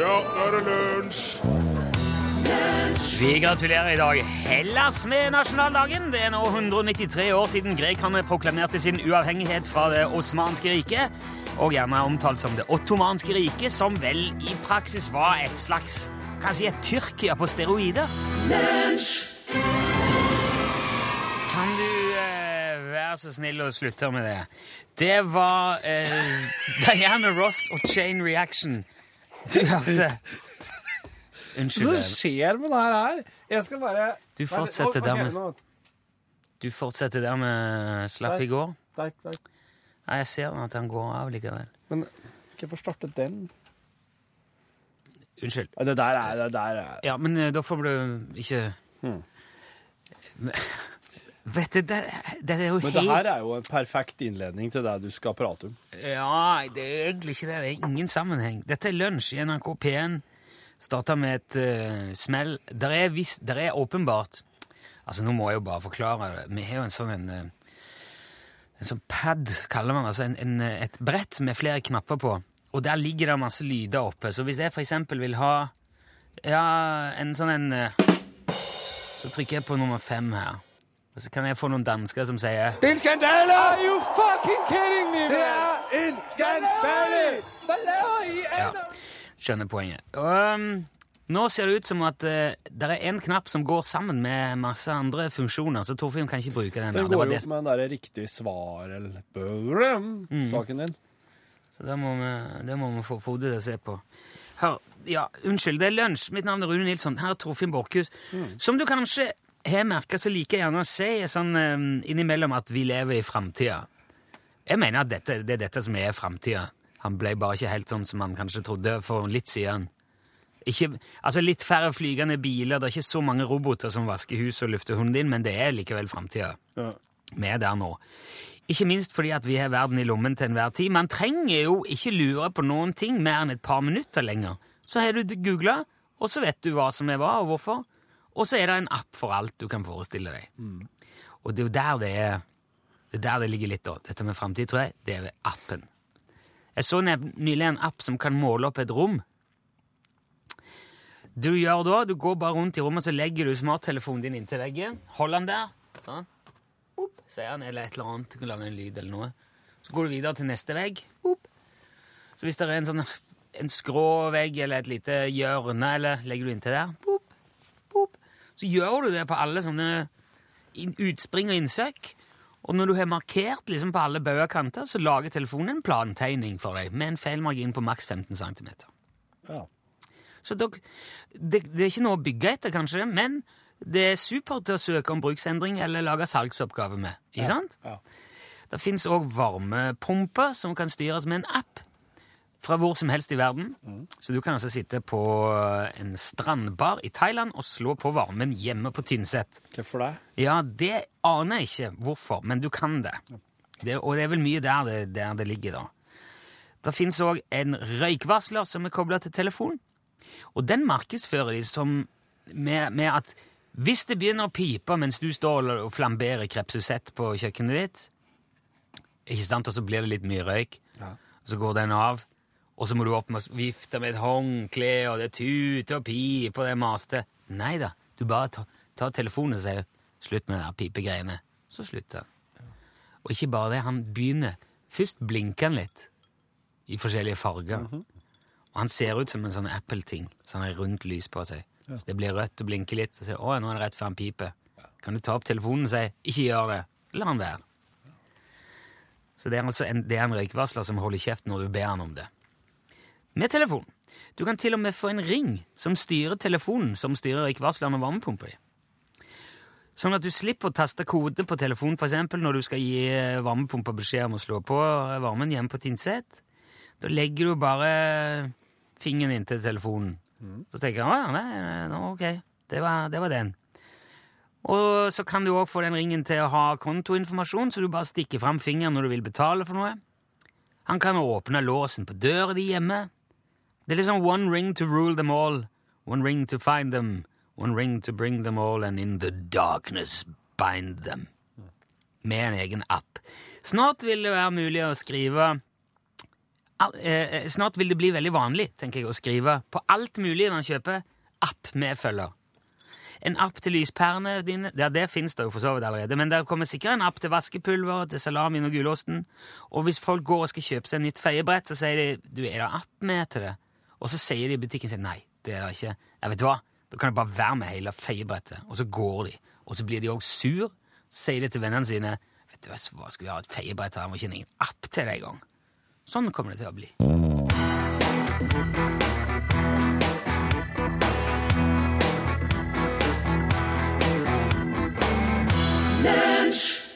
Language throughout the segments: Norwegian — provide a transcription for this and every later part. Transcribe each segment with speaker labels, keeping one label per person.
Speaker 1: Ja, nå er det lunsj!
Speaker 2: Vi gratulerer i dag Hellas med nasjonaldagen. Det er nå 193 år siden grekerne proklamerte sin uavhengighet fra det osmanske riket, og gjerne omtalt som det ottomanske riket, som vel i praksis var et slags kan jeg si et Tyrkia på steroider. Kan du eh, være så snill å slutte med det? Det var eh, Diana Ross og Chain Reaction du hørte. Unnskyld.
Speaker 3: Hva
Speaker 2: Even.
Speaker 3: skjer med det her her? Jeg skal bare
Speaker 2: Du fortsetter
Speaker 3: Nei, ok,
Speaker 2: dermed.
Speaker 3: nå-
Speaker 2: Du fortsetter der med slapp i går?
Speaker 3: Takk, takk.
Speaker 2: Nei, jeg ser at han går av likevel.
Speaker 3: Men ikke få startet den.
Speaker 2: Unnskyld.
Speaker 3: Ja, Det der er det der er.
Speaker 2: Ja, men eh, da får du ikke
Speaker 3: Hmm.
Speaker 2: Men- Vet du, det, det er jo
Speaker 3: Men
Speaker 2: helt
Speaker 3: det her er jo en perfekt innledning til det du skal prate om.
Speaker 2: Ja, det er egentlig ikke det. Det er ingen sammenheng. Dette er lunsj i NRK P1. Starta med et eh, smell. Der er, vis- der er åpenbart Altså, nå må jeg jo bare forklare det. Vi har jo en sånn en, eh, en sånn pad, kaller man det. Altså en, en, eh, et brett med flere knapper på. Og der ligger det masse lyder oppe. Så hvis jeg f.eks. vil ha ja, en sånn en eh, Så trykker jeg på nummer fem her. Og så kan jeg få noen dansker som sier
Speaker 4: Det er en skandale! Are you fucking kidding me? Det er
Speaker 1: en
Speaker 4: Hva laver I?
Speaker 2: Ja, skjønner poenget. Um, nå ser det ut som at det er en knapp som går sammen med masse andre funksjoner, så Torfinn kan ikke bruke den. her.
Speaker 3: Den
Speaker 2: Det var
Speaker 3: går jo
Speaker 2: det
Speaker 3: opp med den derre riktig svar eller brøm, saken din.
Speaker 2: Så det må vi, det må vi få Frode til å se på. Hør, ja, unnskyld, det er lunsj. Mitt navn er Rune Nilsson. Her er Torfinn Borchhus. Som du kanskje har merka, så liker jeg gjerne å si sånn eh, innimellom at vi lever i framtida. Jeg mener at dette, det er dette som er framtida. Han ble bare ikke helt sånn som han kanskje trodde for litt siden. Ikke, altså Litt færre flygende biler, det er ikke så mange roboter som vasker hus og lufter hunden din, men det er likevel framtida.
Speaker 3: Ja.
Speaker 2: Vi er der nå. Ikke minst fordi at vi har verden i lommen til enhver tid. Man trenger jo ikke lure på noen ting mer enn et par minutter lenger. Så har du googla, og så vet du hva som er hva, og hvorfor. Og så er det en app for alt du kan forestille deg. Og det er jo der det er Det er der det ligger litt, da. Dette med framtid, tror jeg, det er ved appen. Jeg så ne- nylig en app som kan måle opp et rom. Du gjør da, du går bare rundt i rommet, så legger du smarttelefonen din inntil veggen. Hold den der. Sånn opp, sier han, eller et eller annet, kan lage en lyd eller noe. Så går du videre til neste vegg, opp. Så hvis det er en sånn en skrå vegg eller et lite hjørne, eller legger du inntil der, opp, opp. Så gjør du det på alle sånne inn- utspring og innsøk, og når du har markert liksom på alle bøye kanter, så lager telefonen en plantegning for deg, med en feilmargin på maks 15 centimeter.
Speaker 3: Ja.
Speaker 2: Så dok- det, det er ikke noe å bygge etter, kanskje, men det er supert å søke om bruksendring eller lage salgsoppgave med. Ikke sant?
Speaker 3: ja.
Speaker 2: Det fins òg varmepumper som kan styres med en app fra hvor som helst i verden.
Speaker 3: Mm.
Speaker 2: Så du kan altså sitte på en strandbar i Thailand og slå på varmen hjemme på Tynset.
Speaker 3: Hvorfor det?
Speaker 2: Ja, det aner jeg ikke hvorfor, men du kan det. det og det er vel mye der det, der det ligger, da. Det fins òg en røykvarsler som er kobla til telefonen. Og den markedsfører de som med, med at hvis det begynner å pipe mens du står og flamberer krepsusett på kjøkkenet ditt, ikke sant, og så blir det litt mye røyk, og så går den av, og så må du opp med å vifte med et håndkle, og det tuter og piper, og det maste. Nei da, du bare tar, tar telefonen og sier slutt med det der pipegreiene. Så slutter han. Og ikke bare det, han begynner. Først blinker han litt i forskjellige farger. Og han ser ut som en sånn Apple-ting, så han har rundt lys på seg. Så det blir rødt og blinker litt, så sier han, å, nå er det rett før han piper. Kan du ta opp telefonen og si ikke gjør det, la han være. Så det er altså en, det er en røykvarsler som holder kjeft når du ber han om det. Med telefon. Du kan til og med få en ring som styrer telefonen, som styrer røykvarsleren og varmepumpa di. Sånn at du slipper å taste kode på telefonen f.eks. når du skal gi eh, varmepumpa beskjed om å slå på eh, varmen hjemme på Tynset. Da legger du bare eh, fingeren inntil telefonen. Så tenker jeg at nei, eh, nå, ok, det var, det var den. Og så kan du òg få den ringen til å ha kontoinformasjon, så du bare stikker fram fingeren når du vil betale for noe. Han kan åpne låsen på døra di hjemme. Det er liksom one ring to rule them all, one ring to find them, one ring to bring them all, and in the darkness bind them. Med en egen app. Snart vil det være mulig å skrive Al- eh, eh, Snart vil det bli veldig vanlig tenker jeg, å skrive på alt mulig man kjøper, app med følger. En app til lyspærene dine Ja, det fins det jo for så vidt allerede. Men det kommer sikkert en app til vaskepulver, til salamien og gulosten. Og hvis folk går og skal kjøpe seg nytt feiebrett, så sier de du, er det app med til det? Og så sier de i butikken sin nei, det er det ikke. Ja, vet du hva, da kan det bare være med hele feiebrettet. Og så går de. Og så blir de òg sur, sier de til vennene sine. Vet du hva, hva skal vi ha et feiebrett her, det var ikke ingen app til det engang. Sånn kommer det til å bli.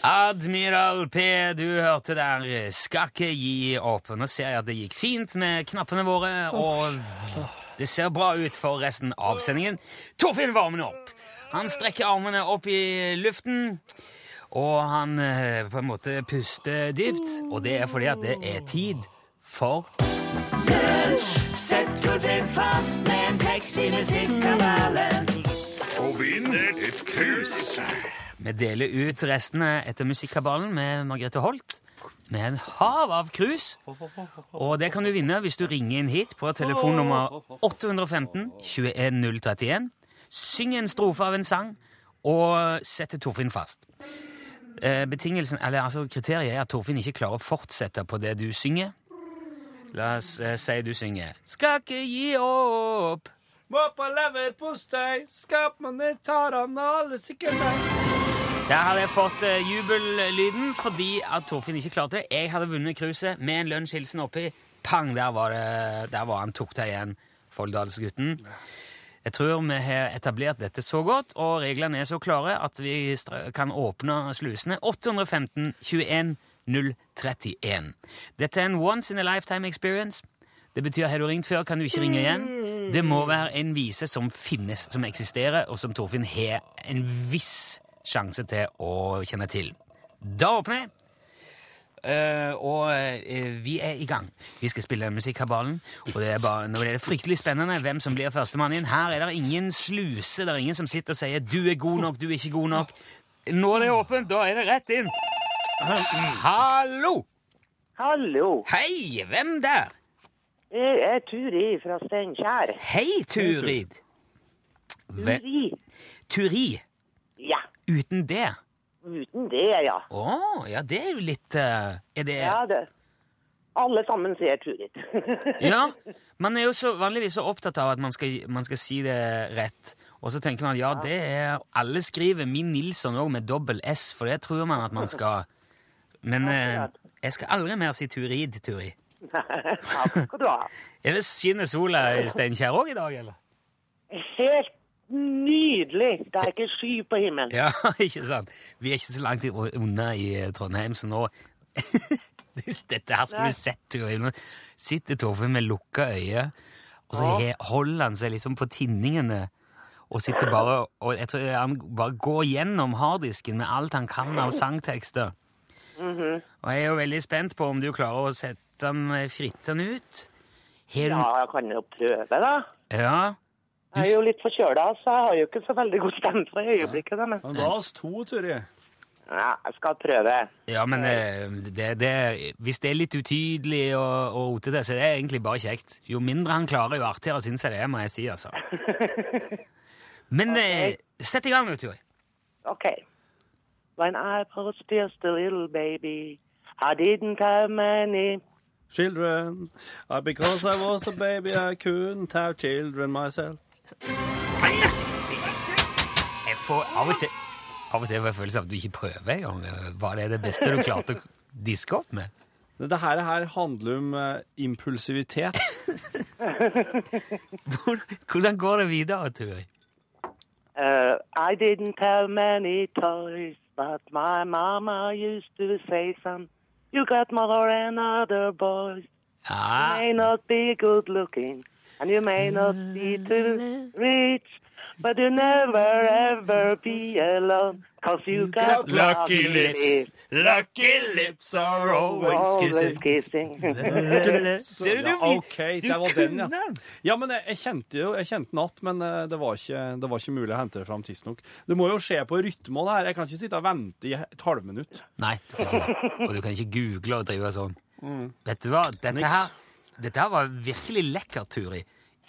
Speaker 2: Admiral P, du hørte der. Skal ikke gi opp. Nå ser jeg at det gikk fint med knappene våre, og det ser bra ut for resten av sendingen. Torfinn varmer nå opp. Han strekker armene opp i luften, og han eh, på en måte puster dypt. Og det er fordi at det er tid for Sett Torfinn fast med en tekst i musikkanalen.
Speaker 1: Og vinner et krus.
Speaker 2: Vi deler ut restene etter Musikkabalen med Margrethe Holt. Med en hav av krus. Og det kan du vinne hvis du ringer inn hit på telefonnummer 815 21031. Syng en strofe av en sang, og setter Torfinn fast. Eh, Betingelsen, eller altså Kriteriet er at Torfinn ikke klarer å fortsette på det du synger. La oss eh, si du synger 'Skal ikke gi opp'.
Speaker 3: Må på leverpostei, skap man i tarene, alle sikkert
Speaker 2: Der hadde jeg fått eh, jubellyden fordi at Torfinn ikke klarte det. Jeg hadde vunnet cruiset med en lunsjhilsen oppi. Pang! Der var, det, der var han tok det igjen, Folldalsgutten. Jeg tror vi har etablert dette så godt, og reglene er så klare at vi stra- kan åpne slusene 815 21 031. Dette er en once in a lifetime experience. Det betyr har du ringt før, kan du ikke ringe igjen. Det må være en vise som finnes, som eksisterer, og som Torfinn har en viss sjanse til å kjenne til. Da åpner jeg. Eh, og eh, vi er i gang. Vi skal spille Musikkabalen. Og det er bare, nå er det fryktelig spennende hvem som blir førstemann inn. Her er det ingen sluse. Det er ingen som sitter og sier 'du er god nok', 'du er ikke god nok'. Når det er åpent, da er det rett inn. Hallo!
Speaker 5: Hallo,
Speaker 2: Hei! Hvem der?
Speaker 5: jeg er Turi fra Steinkjer.
Speaker 2: Hei, Turid. Ve-
Speaker 5: Turi?
Speaker 2: Turi.
Speaker 5: Ja,
Speaker 2: Uten det.
Speaker 5: uten det, ja.
Speaker 2: Å, ja, det er jo litt eh, Er det
Speaker 5: Ja, det. Alle sammen sier Turid.
Speaker 2: Ja, man er jo så vanligvis så opptatt av at man skal, man skal si det rett. Og så tenker man ja, det er Alle skriver min Nilsson òg med dobbel S, for det tror man at man skal. Men eh, jeg skal aldri mer si Turid, Turi.
Speaker 5: Takk skal du ha.
Speaker 2: Er det skinner sola i Steinkjer òg i dag, eller?
Speaker 5: Helt nydelig. Det er ikke sky på himmelen.
Speaker 2: Ja, ikke sant? Vi er ikke så langt i- unna i eh, Trondheim, så nå Dette her
Speaker 5: Nei.
Speaker 2: skulle vi sett, Turid. Nå sitter Torfinn med lukka øye, og så he, holder han seg liksom på tinningene og sitter bare og jeg tror han bare går gjennom harddisken med alt han kan av sangtekster.
Speaker 5: Mhm.
Speaker 2: Og jeg er jo veldig spent på om du klarer å sette den fritten ut. Har du-
Speaker 5: Ja, jeg kan jo prøve, da.
Speaker 2: ja.
Speaker 5: Jeg er jo litt forkjøla, så jeg har jo ikke så veldig god stemme for øyeblikket. Da, men
Speaker 3: Men ga oss to, Turi.
Speaker 5: ja, jeg skal prøve.
Speaker 2: Ja, men eh, det, det, hvis det er litt utydelig og, og rotete, så er det egentlig bare kjekt. Jo mindre han klarer, jo artigere syns jeg det er, må jeg si, altså. Men eh, sett i gang, vet du.
Speaker 5: Okay. When I was just a little baby, I didn't have money.
Speaker 3: Children. I, because I was a baby, I couldn't have children myself.
Speaker 2: Jeg får av og til av og til får jeg følelsen av at du ikke prøver engang. Var det det beste du klarte å diske opp med?
Speaker 3: Dette her, her handler om eh, impulsivitet.
Speaker 2: Hvor- Hvordan går det videre, tror jeg?
Speaker 5: Uh, I didn't have many toys, but my mama used to say some. You got mother and other boys. You
Speaker 2: Ja,
Speaker 5: may not be good looking, and you may not be too rich, but you never ever be alone, cause you got
Speaker 2: Mm. lucky lips, lucky lips are always
Speaker 5: Always
Speaker 2: kissing.
Speaker 5: kissing.
Speaker 2: Ser du, du,
Speaker 3: Ja, ok,
Speaker 2: du
Speaker 3: det var den, ja.
Speaker 2: kunne den.
Speaker 3: Ja, men jeg, jeg kjente jo, jeg kjente den att, men eh, det var, ikke, det var ikke mulig å hente det fram tidsnok. Det må jo skje på rytme og det her. Jeg kan ikke sitte og vente i et halvminutt.
Speaker 2: Nei, du kan ikke det. og du kan ikke google og drive sånn. Vet du hva, dette
Speaker 3: Niks.
Speaker 2: her Dette her var virkelig lekker, Turi.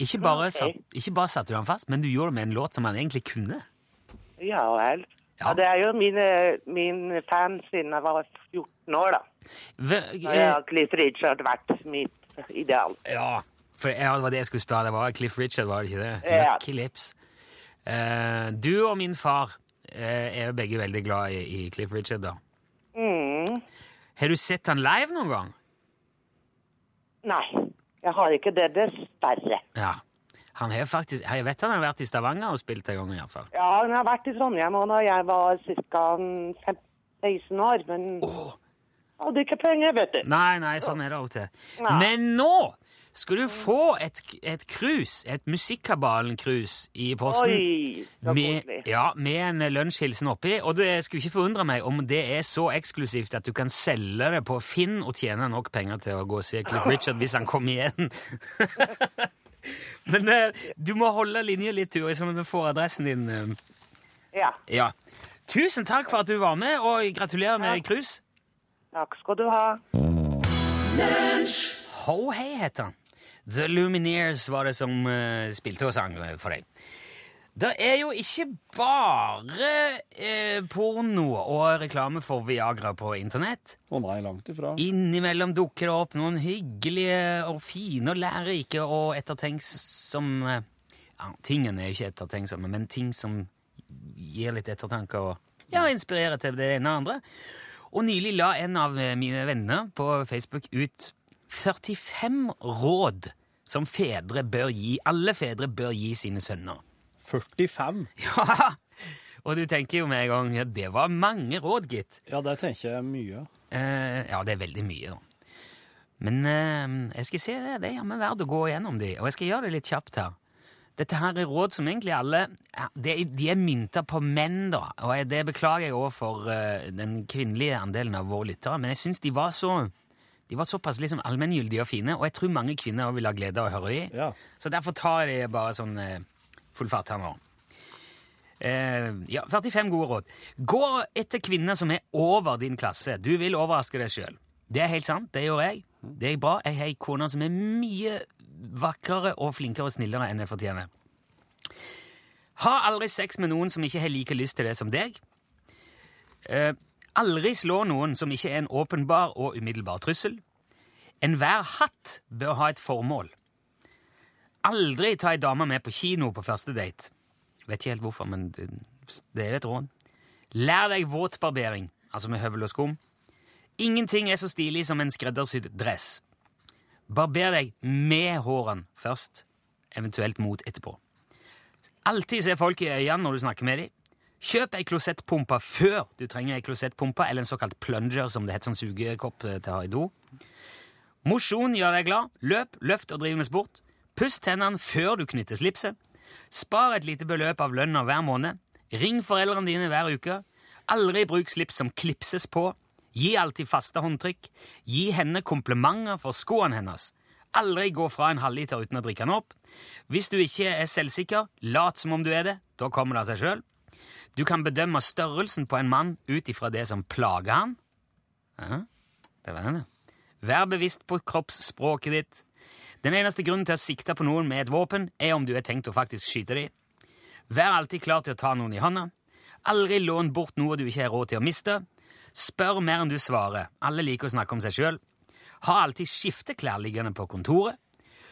Speaker 2: Ikke bare,
Speaker 5: Ok.
Speaker 2: satt, ikke bare satte du han fast, men du gjorde det med en låt som han egentlig kunne.
Speaker 5: Ja vel.
Speaker 2: Ja.
Speaker 5: Ja. det er jo mine, min fan siden jeg var 14 år, da.
Speaker 2: Ve-
Speaker 5: Da har Cliff Richard vært mitt ideal.
Speaker 2: eh, Ja, for ja, det var det jeg skulle spørre. Det var Cliff Richard, var det ikke det?
Speaker 5: Ja.
Speaker 2: Lucky Lips. Eh, du og min far eh, er jo begge veldig glad i, i Cliff Richard, da.
Speaker 5: Mm.
Speaker 2: Har du sett han live noen gang?
Speaker 5: Nei, jeg har ikke det, dessverre.
Speaker 2: Ja. Han har faktisk, jeg vet han har vært i Stavanger og spilt en gang, iallfall.
Speaker 5: Ja, hun har vært i Trondheim og da jeg var ca. 16 år, men hadde ikke penger, vet du.
Speaker 2: Nei, nei, sånn er det av og til.
Speaker 5: Ja.
Speaker 2: Men nå skal du få et, et krus, et Musikkabalen-krus, i posten.
Speaker 5: Oi, så
Speaker 2: Med,
Speaker 5: koselig.
Speaker 2: ja, med en lunsjhilsen oppi. Og det skulle ikke forundre meg om det er så eksklusivt at du kan selge det på Finn og tjene nok penger til å gå og se Cliff Richard hvis han kommer igjen. Men eh, du må holde linja litt, Turi, sånn at vi får adressen din. eh.
Speaker 5: Ja,
Speaker 2: Ja. Tusen takk for at du var med, og gratulerer med krus.
Speaker 5: takk skal du ha.
Speaker 2: Ho Hey heter han. The Lumineers var det som eh, spilte og sang eh, for deg. Det er jo ikke bare eh, porno og reklame for Viagra på internett.
Speaker 3: Å nei, langt ifra.
Speaker 2: Innimellom dukker det opp noen hyggelige og fine og lærerike og ettertenksomme ja, Tingene er jo ikke ettertenksomme, men ting som gir litt ettertanke og ja, inspirerer til det ene og andre. Og nylig la en av eh, mine venner på Facebook ut 45 råd som fedre bør gi, alle fedre bør gi sine sønner.
Speaker 3: 45?
Speaker 2: Ja! Og du tenker jo med en gang ja, det var mange råd, gitt.
Speaker 3: Ja, det tenker jeg mye.
Speaker 2: Eh, ja, det er veldig mye, da. Men eh, jeg skal se det. Det er jammen verdt å gå igjennom de, og jeg skal gjøre det litt kjapt her. Dette her er råd som egentlig alle ja, det, er- De er mynta på menn, da. Og jeg, det beklager jeg overfor eh, den kvinnelige andelen av våre lyttere, men jeg syns de var så de var såpass liksom allmenngyldige og fine, og jeg tror mange kvinner også vil ha glede av å høre dem.
Speaker 3: Ja.
Speaker 2: Så derfor tar jeg det bare sånn eh, full fart her nå. Eh, ja, 45 gode råd. Gå etter kvinner som er over din klasse. Du vil overraske deg sjøl. Det er helt sant. Det gjør jeg. Det er bra. Jeg har ei kone som er mye vakrere og flinkere og snillere enn jeg fortjener. Ha aldri sex med noen som ikke har like lyst til det som deg. Eh, aldri slå noen som ikke er en åpenbar og umiddelbar trussel. Enhver hatt bør ha et formål. Aldri ta ei dame med på kino på første date. Vet ikke helt hvorfor, men det, det er jo et råd. Lær deg våtbarbering, altså med høvel og skum. Ingenting er så stilig som en skreddersydd dress. Barber deg med hårene først, eventuelt mot etterpå. Alltid se folk i øynene når du snakker med dem. Kjøp ei klosettpumpe før du trenger ei klosettpumpe, eller en såkalt plunger, som det heter, sånn sugekopp eh, til å ha i do. Mosjon gjør deg glad. Løp, løft og driv med sport. Puss tennene før du knytter slipset. Spar et lite beløp av lønna hver måned. Ring foreldrene dine hver uke. Aldri bruk slips som klipses på. Gi alltid faste håndtrykk. Gi henne komplimenter for skoene hennes. Aldri gå fra en halvliter uten å drikke den opp. Hvis du ikke er selvsikker, lat som om du er det. Da kommer det av seg sjøl. Du kan bedømme størrelsen på en mann ut ifra det som plager han. Ja, det var den, ja. Vær bevisst på kroppsspråket ditt. Den eneste grunnen til å sikte på noen med et våpen, er om du er tenkt å faktisk skyte dem. Vær alltid klar til å ta noen i hånda. Aldri lån bort noe du ikke har råd til å miste. Spør mer enn du svarer. Alle liker å snakke om seg sjøl. Ha alltid skifteklær liggende på kontoret.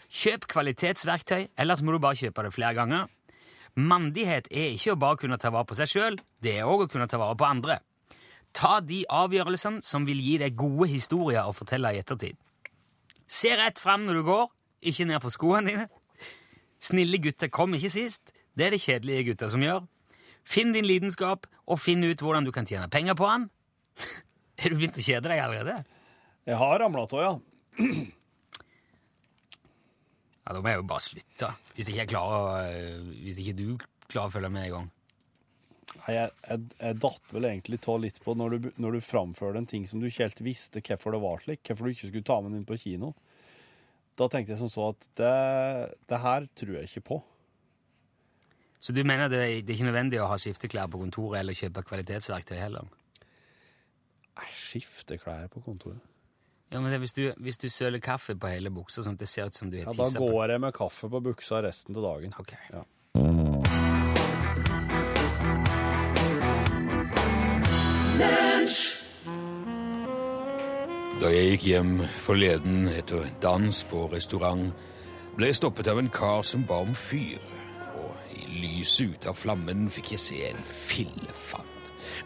Speaker 2: Kjøp kvalitetsverktøy, ellers må du bare kjøpe det flere ganger. Mandighet er ikke å bare kunne ta vare på seg sjøl, det er òg å kunne ta vare på andre. Ta de avgjørelsene som vil gi deg gode historier å fortelle i ettertid. Se rett fram når du går, ikke ned på skoene dine. Snille gutter kom ikke sist, det er det kjedelige gutter som gjør. Finn din lidenskap, og finn ut hvordan du kan tjene penger på den. Er du begynt å kjede deg allerede?
Speaker 3: Jeg har ramla av, ja.
Speaker 2: Ja, Da må jeg jo bare slutte, hvis ikke, jeg klarer, å, øh, hvis ikke du klarer å følge med i gang.
Speaker 3: Nei, jeg, jeg, jeg datt vel egentlig ta litt på når du, når du framførte en ting som du ikke helt visste hvorfor det var slik, hvorfor du ikke skulle ta med den inn på kino. Da tenkte jeg som så at det, det her tror jeg ikke på.
Speaker 2: Så du mener det er det er ikke nødvendig å ha skifteklær på kontoret eller kjøpe kvalitetsverktøy heller?
Speaker 3: Jeg skifter klær på kontoret.
Speaker 2: Ja, men det, er hvis, du, hvis du søler kaffe på hele buksa sånn at det ser ut som du har
Speaker 3: Ja, da
Speaker 2: tisset på
Speaker 3: går jeg med kaffe på buksa resten av dagen.
Speaker 2: Ok.
Speaker 3: Ja.
Speaker 6: Da jeg gikk hjem forleden etter dans på restaurant, ble jeg stoppet av en kar som ba om fyr. Og i lyset ut av flammen fikk jeg se en fillefant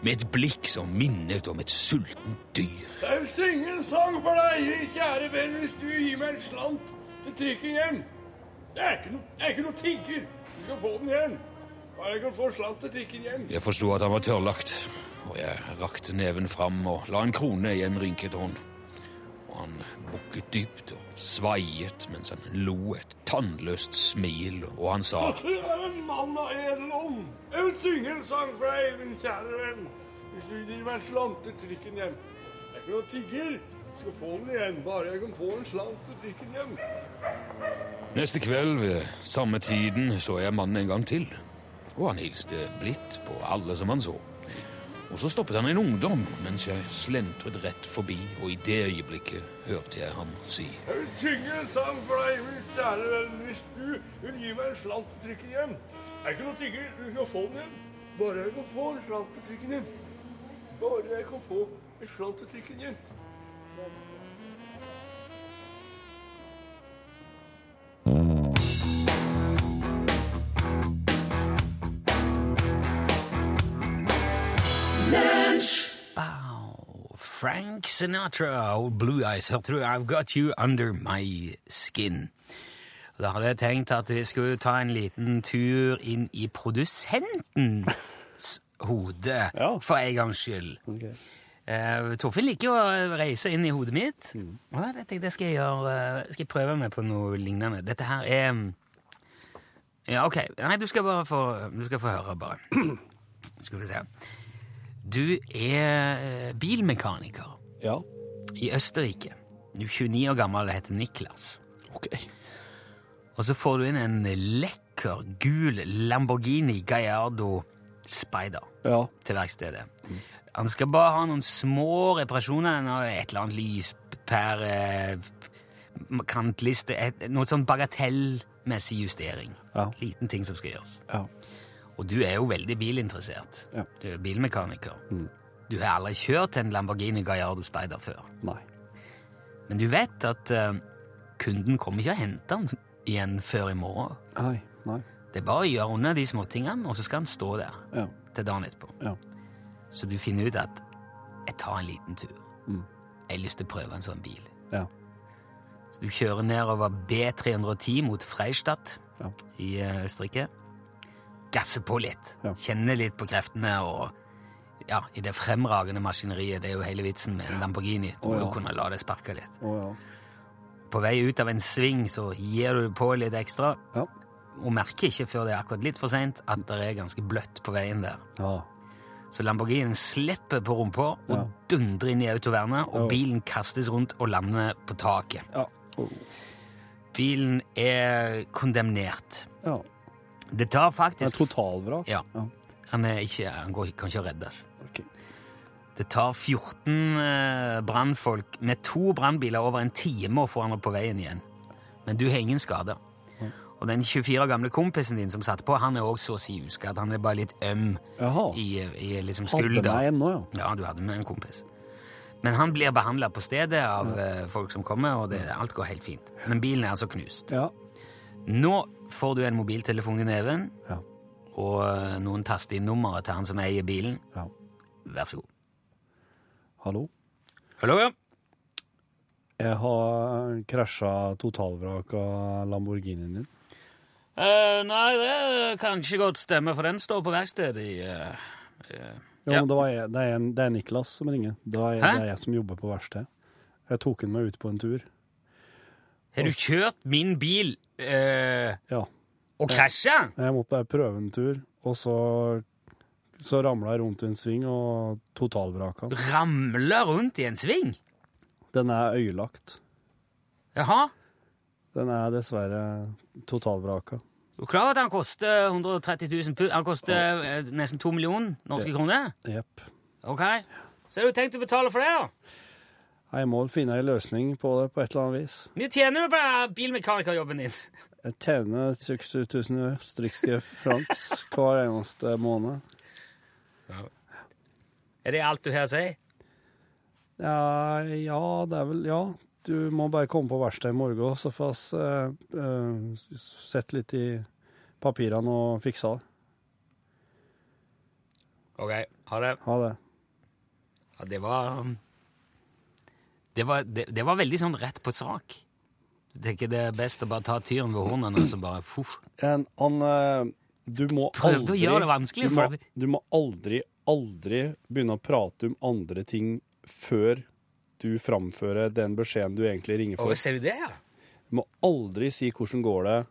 Speaker 6: med et blikk som minnet om et sultent dyr.
Speaker 7: Jeg vil synge en sang for deg, kjære venn, hvis du gir meg en slant til trikken hjem. Jeg er ikke noe, jeg er ikke noe tigger. Du skal få den igjen. Bare jeg kan få en slant til trikken hjem.
Speaker 6: Jeg forsto at han var tørrlagt, og jeg rakte neven fram og la en krone i en rynket hånd. Og han bukket dypt og svaiet mens han lo et tannløst smil, og han sa
Speaker 7: Du er en mann av edel ånd. Jeg vil synge en sang for deg, min kjære venn, hvis du gir meg en slant til trikken hjem. Jeg er ikke noe tigger. Du skal få den igjen. Bare jeg kan få en slant til trikken hjem.
Speaker 6: Neste kveld ved samme tiden så jeg mannen en gang til. Og han hilste blidt på alle som han så. Og så stoppet han en ungdom mens jeg slentret rett forbi, og i det øyeblikket hørte jeg ham si
Speaker 7: Jeg vil synge en sang for deg, min kjære venn, hvis du vil gi meg en slant til trikken hjem. Det er ikke noe tigger, du kan få den hjem. Bare jeg kan få en slant til trikken hjem. Bare jeg kan få en slant til trikken hjem.
Speaker 2: Bow. Frank Sinatra og Blue Eyes hørte du I've Got You Under My Skin. Da hadde jeg tenkt at vi skulle ta en liten tur inn i produsentens hode,
Speaker 3: Ja.
Speaker 2: for en gangs skyld. Eh, Torfinn liker jo å reise inn i hodet mitt. Og da tenkte jeg det skal jeg gjøre, eh, skal jeg prøve meg på noe lignende. Dette her er mm, Ja, OK. Nei, du skal bare få, du skal få høre, bare. Skal vi se. Du er eh, bilmekaniker
Speaker 3: Ja.
Speaker 2: i Østerrike. Du er 29 år gammel og heter Niklas.
Speaker 3: Ok.
Speaker 2: Og så får du inn en lekker gul Lamborghini Gallardo Spider
Speaker 3: Ja.
Speaker 2: til verkstedet. Han skal bare ha noen små reparasjoner, han har et eller annet lys per eh, kantliste, et, noe sånn bagatellmessig justering.
Speaker 3: Ja.
Speaker 2: Liten ting som skal gjøres.
Speaker 3: ja.
Speaker 2: Og du er jo veldig bilinteressert.
Speaker 3: Ja. Mm.
Speaker 2: Du er bilmekaniker. Du har aldri kjørt en Lamborghini Gallardo Spider før.
Speaker 3: Nei.
Speaker 2: Men du vet at eh, kunden kommer ikke og henter den igjen før i morgen.
Speaker 3: Nei. Nei.
Speaker 2: Det er bare å gjøre unna de småtingene, og så skal han stå der
Speaker 3: Ja.
Speaker 2: til dagen etterpå.
Speaker 3: Ja.
Speaker 2: Så du finner ut at jeg tar en liten tur.
Speaker 3: Mm.
Speaker 2: Jeg har lyst til å prøve en sånn bil.
Speaker 3: Ja.
Speaker 2: Så du kjører nedover B310 mot Freistadt
Speaker 3: Ja.
Speaker 2: i eh, Østerrike. Gasser på litt.
Speaker 3: Ja.
Speaker 2: Kjenner litt på kreftene og ja, i det fremragende maskineriet. Det er jo hele vitsen med en Lamborghini. Du
Speaker 3: Å,
Speaker 2: må
Speaker 3: ja.
Speaker 2: jo kunne la det sparke litt.
Speaker 3: Å ja.
Speaker 2: På vei ut av en sving så gir du på litt ekstra,
Speaker 3: Ja.
Speaker 2: og merker ikke før det er akkurat litt for seint at det er ganske bløtt på veien der.
Speaker 3: Ja.
Speaker 2: Så Lamborghinen slipper på rumpa og
Speaker 3: Ja.
Speaker 2: dundrer inn i autovernet, og bilen kastes rundt og lander på taket.
Speaker 3: Ja. Oh.
Speaker 2: Bilen er kondemnert.
Speaker 3: ja.
Speaker 2: Det tar
Speaker 3: Det er
Speaker 2: faktisk
Speaker 3: totalvrak.
Speaker 2: Ja.
Speaker 3: Ja.
Speaker 2: Han, er ikke, han går, ikke- kan ikke reddes.
Speaker 3: Ok.
Speaker 2: Det tar 14 eh, brannfolk med to brannbiler over en time å få han opp på veien igjen. Men du har ingen skader. Og den 24 år gamle kompisen din som satt på, han er også så å si uskadd. Han er bare litt øm
Speaker 3: Jaha.
Speaker 2: i, i liksom
Speaker 3: Hadde
Speaker 2: skulder.
Speaker 3: meg ennå, ja.
Speaker 2: Ja, du hadde med en kompis. Men han blir behandla på stedet av eh, folk som kommer, og det, alt går helt fint. Men bilen er altså knust.
Speaker 3: Ja.
Speaker 2: Nå får du en mobiltelefon i neven,
Speaker 3: Ja.
Speaker 2: og eh, noen taster inn nummeret til han som eier bilen.
Speaker 3: ja.
Speaker 2: Vær så god.
Speaker 3: Hallo?
Speaker 2: Hallo, ja.
Speaker 3: Jeg har eh, krasja totalvraka Lamborghinien din.
Speaker 2: Eh, nei, det kan ikke godt stemme, for den står på verkstedet i eh.
Speaker 3: Jo,
Speaker 2: Ja.
Speaker 3: men det, var jeg, det, er en, det er Niklas som ringer. Det er,
Speaker 2: Hæ?
Speaker 3: det er jeg som jobber på verksted. Jeg tok han med ut på en tur.
Speaker 2: Har du kjørt min bil eh,
Speaker 3: Ja.
Speaker 2: og krasja?
Speaker 3: Jeg måtte bare prøve en tur, og så, så ramla jeg rundt i en sving og totalvraka. den.
Speaker 2: Ramla rundt i en sving?
Speaker 3: Den er øyelagt.
Speaker 2: Jaha.
Speaker 3: Den er dessverre totalvraka.
Speaker 2: Du er klar over at han koster 130 000 pund? Han koster eh, nesten to millioner norske kroner?
Speaker 3: Jepp.
Speaker 2: Ok. Så har du tenkt å betale for det, da?
Speaker 8: Jeg må finne en løsning på det på et eller annet vis.
Speaker 2: Mye tjener du på den bilmekanikerjobben din?
Speaker 8: Jeg tjener 6000 østerrikske francs hver eneste måned.
Speaker 2: Er det alt du her sier?
Speaker 8: Ja, ja, det er vel Ja. Du må bare komme på verkstedet i morgen, så får vi eh, eh, s- sette litt i papirene og fikse det.
Speaker 2: OK, ha det.
Speaker 8: Ha det.
Speaker 2: Ja, det var um, det var, det, det var veldig sånn rett på sak. Jeg tenker det er best å bare ta tyren ved hornene og så bare puff.
Speaker 8: En, han, eh, du må
Speaker 2: Prøvde å
Speaker 8: aldri,
Speaker 2: gjøre det vanskelig
Speaker 8: du
Speaker 2: for
Speaker 8: må,
Speaker 2: meg.
Speaker 8: du må aldri, aldri begynne å prate om andre ting før du framfører den beskjeden du egentlig ringer
Speaker 2: Å,
Speaker 8: for.
Speaker 2: ser du det, ja?
Speaker 8: Du må aldri si 'hvordan går det',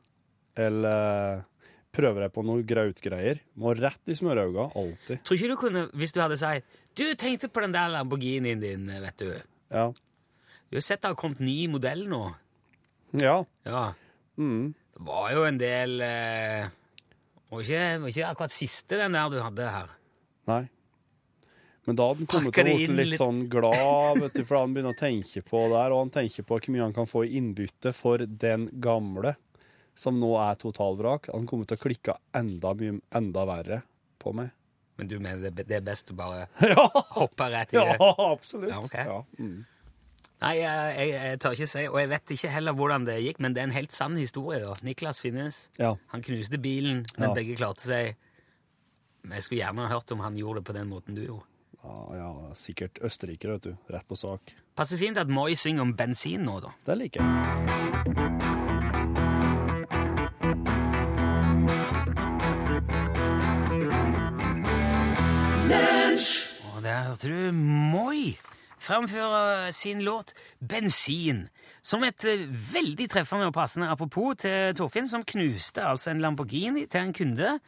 Speaker 8: eller 'prøver jeg på noe grautgreier'. Du Må rett i smørauga, alltid.
Speaker 2: Tror ikke du kunne, hvis du hadde sagt Du tenkte på den der Lamborghinien din, vet du.
Speaker 8: Ja.
Speaker 2: Du har sett det har kommet ny modell nå.
Speaker 8: ja.
Speaker 2: Ja.
Speaker 8: Mm.
Speaker 2: Det var jo en del eh, Var ikke, var ikke akkurat siste, den der du hadde her.
Speaker 8: Nei. Men da hadde han kommet
Speaker 2: Pakker
Speaker 8: til å
Speaker 2: det
Speaker 8: bli
Speaker 2: inn
Speaker 8: litt
Speaker 2: litt.
Speaker 8: sånn glad, vet du, for han begynner å tenke på det her, og han tenker på hvor mye han kan få i innbytte for den gamle, som nå er totalvrak. Han kommer til å klikke enda mye enda verre på meg.
Speaker 2: Men du mener det, det er best å bare
Speaker 8: Ja,
Speaker 2: hoppe rett i
Speaker 8: ja
Speaker 2: det?
Speaker 8: absolutt.
Speaker 2: Ja, ok.
Speaker 8: Ja, mm.
Speaker 2: Nei, jeg, jeg, jeg tør ikke si, og jeg vet ikke heller hvordan det gikk, men det er en helt sann historie. da. Niklas finnes.
Speaker 8: Ja.
Speaker 2: Han knuste bilen, men
Speaker 8: Ja.
Speaker 2: begge klarte seg. Men jeg skulle gjerne ha hørt om han gjorde det på den måten du gjorde.
Speaker 8: Ja, ja, sikkert østerrikere, vet du. Rett på sak.
Speaker 2: Passer fint at Moi synger om bensin nå, da.
Speaker 8: Det liker jeg.
Speaker 2: Og der hørte du Moi framføre sin låt 'Bensin', som et eh, veldig treffende og passende apropos til Torfinn, som knuste altså en Lamborghini til en kunde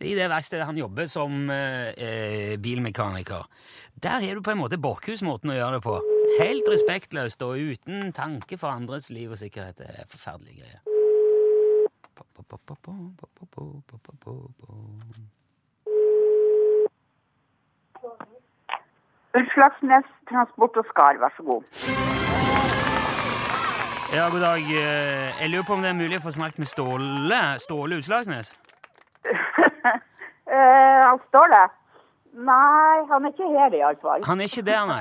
Speaker 2: i det verkstedet han jobber som eh, eh, bilmekaniker. Der har du på en måte Borkhus-måten å gjøre det på. Helt respektløst og uten tanke for andres liv og sikkerhet. Det er forferdelige greier.
Speaker 9: Utslagsnes Transport og Skar, vær så god.
Speaker 2: Ja, god dag. Eh, Jeg lurer på om det er mulig å få snakket med Ståle, Ståle Utslagsnes?
Speaker 9: Eh, han står det? Nei, han er ikke her iallfall.
Speaker 2: Han er ikke der, nei.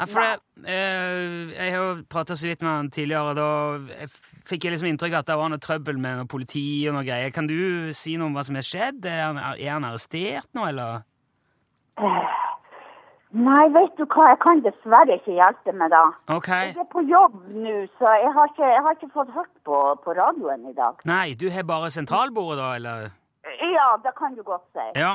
Speaker 2: Nei, for det, eh, jeg har jo prata så vidt med han tidligere, og da jeg f- fikk jeg liksom inntrykk av at det var noe trøbbel med noe politi og noe greier. Kan du si noe om hva som har skjedd? Er han, er han arrestert nå, eller?
Speaker 9: Nei, vet du hva, jeg kan dessverre ikke hjelpe med det.
Speaker 2: OK.
Speaker 9: Jeg er på jobb nå, så jeg har ikke, jeg har ikke fått hørt på, på radioen i dag.
Speaker 2: Nei, du har bare sentralbordet, da, eller?
Speaker 9: Ja, det kan du godt si.
Speaker 2: Ja.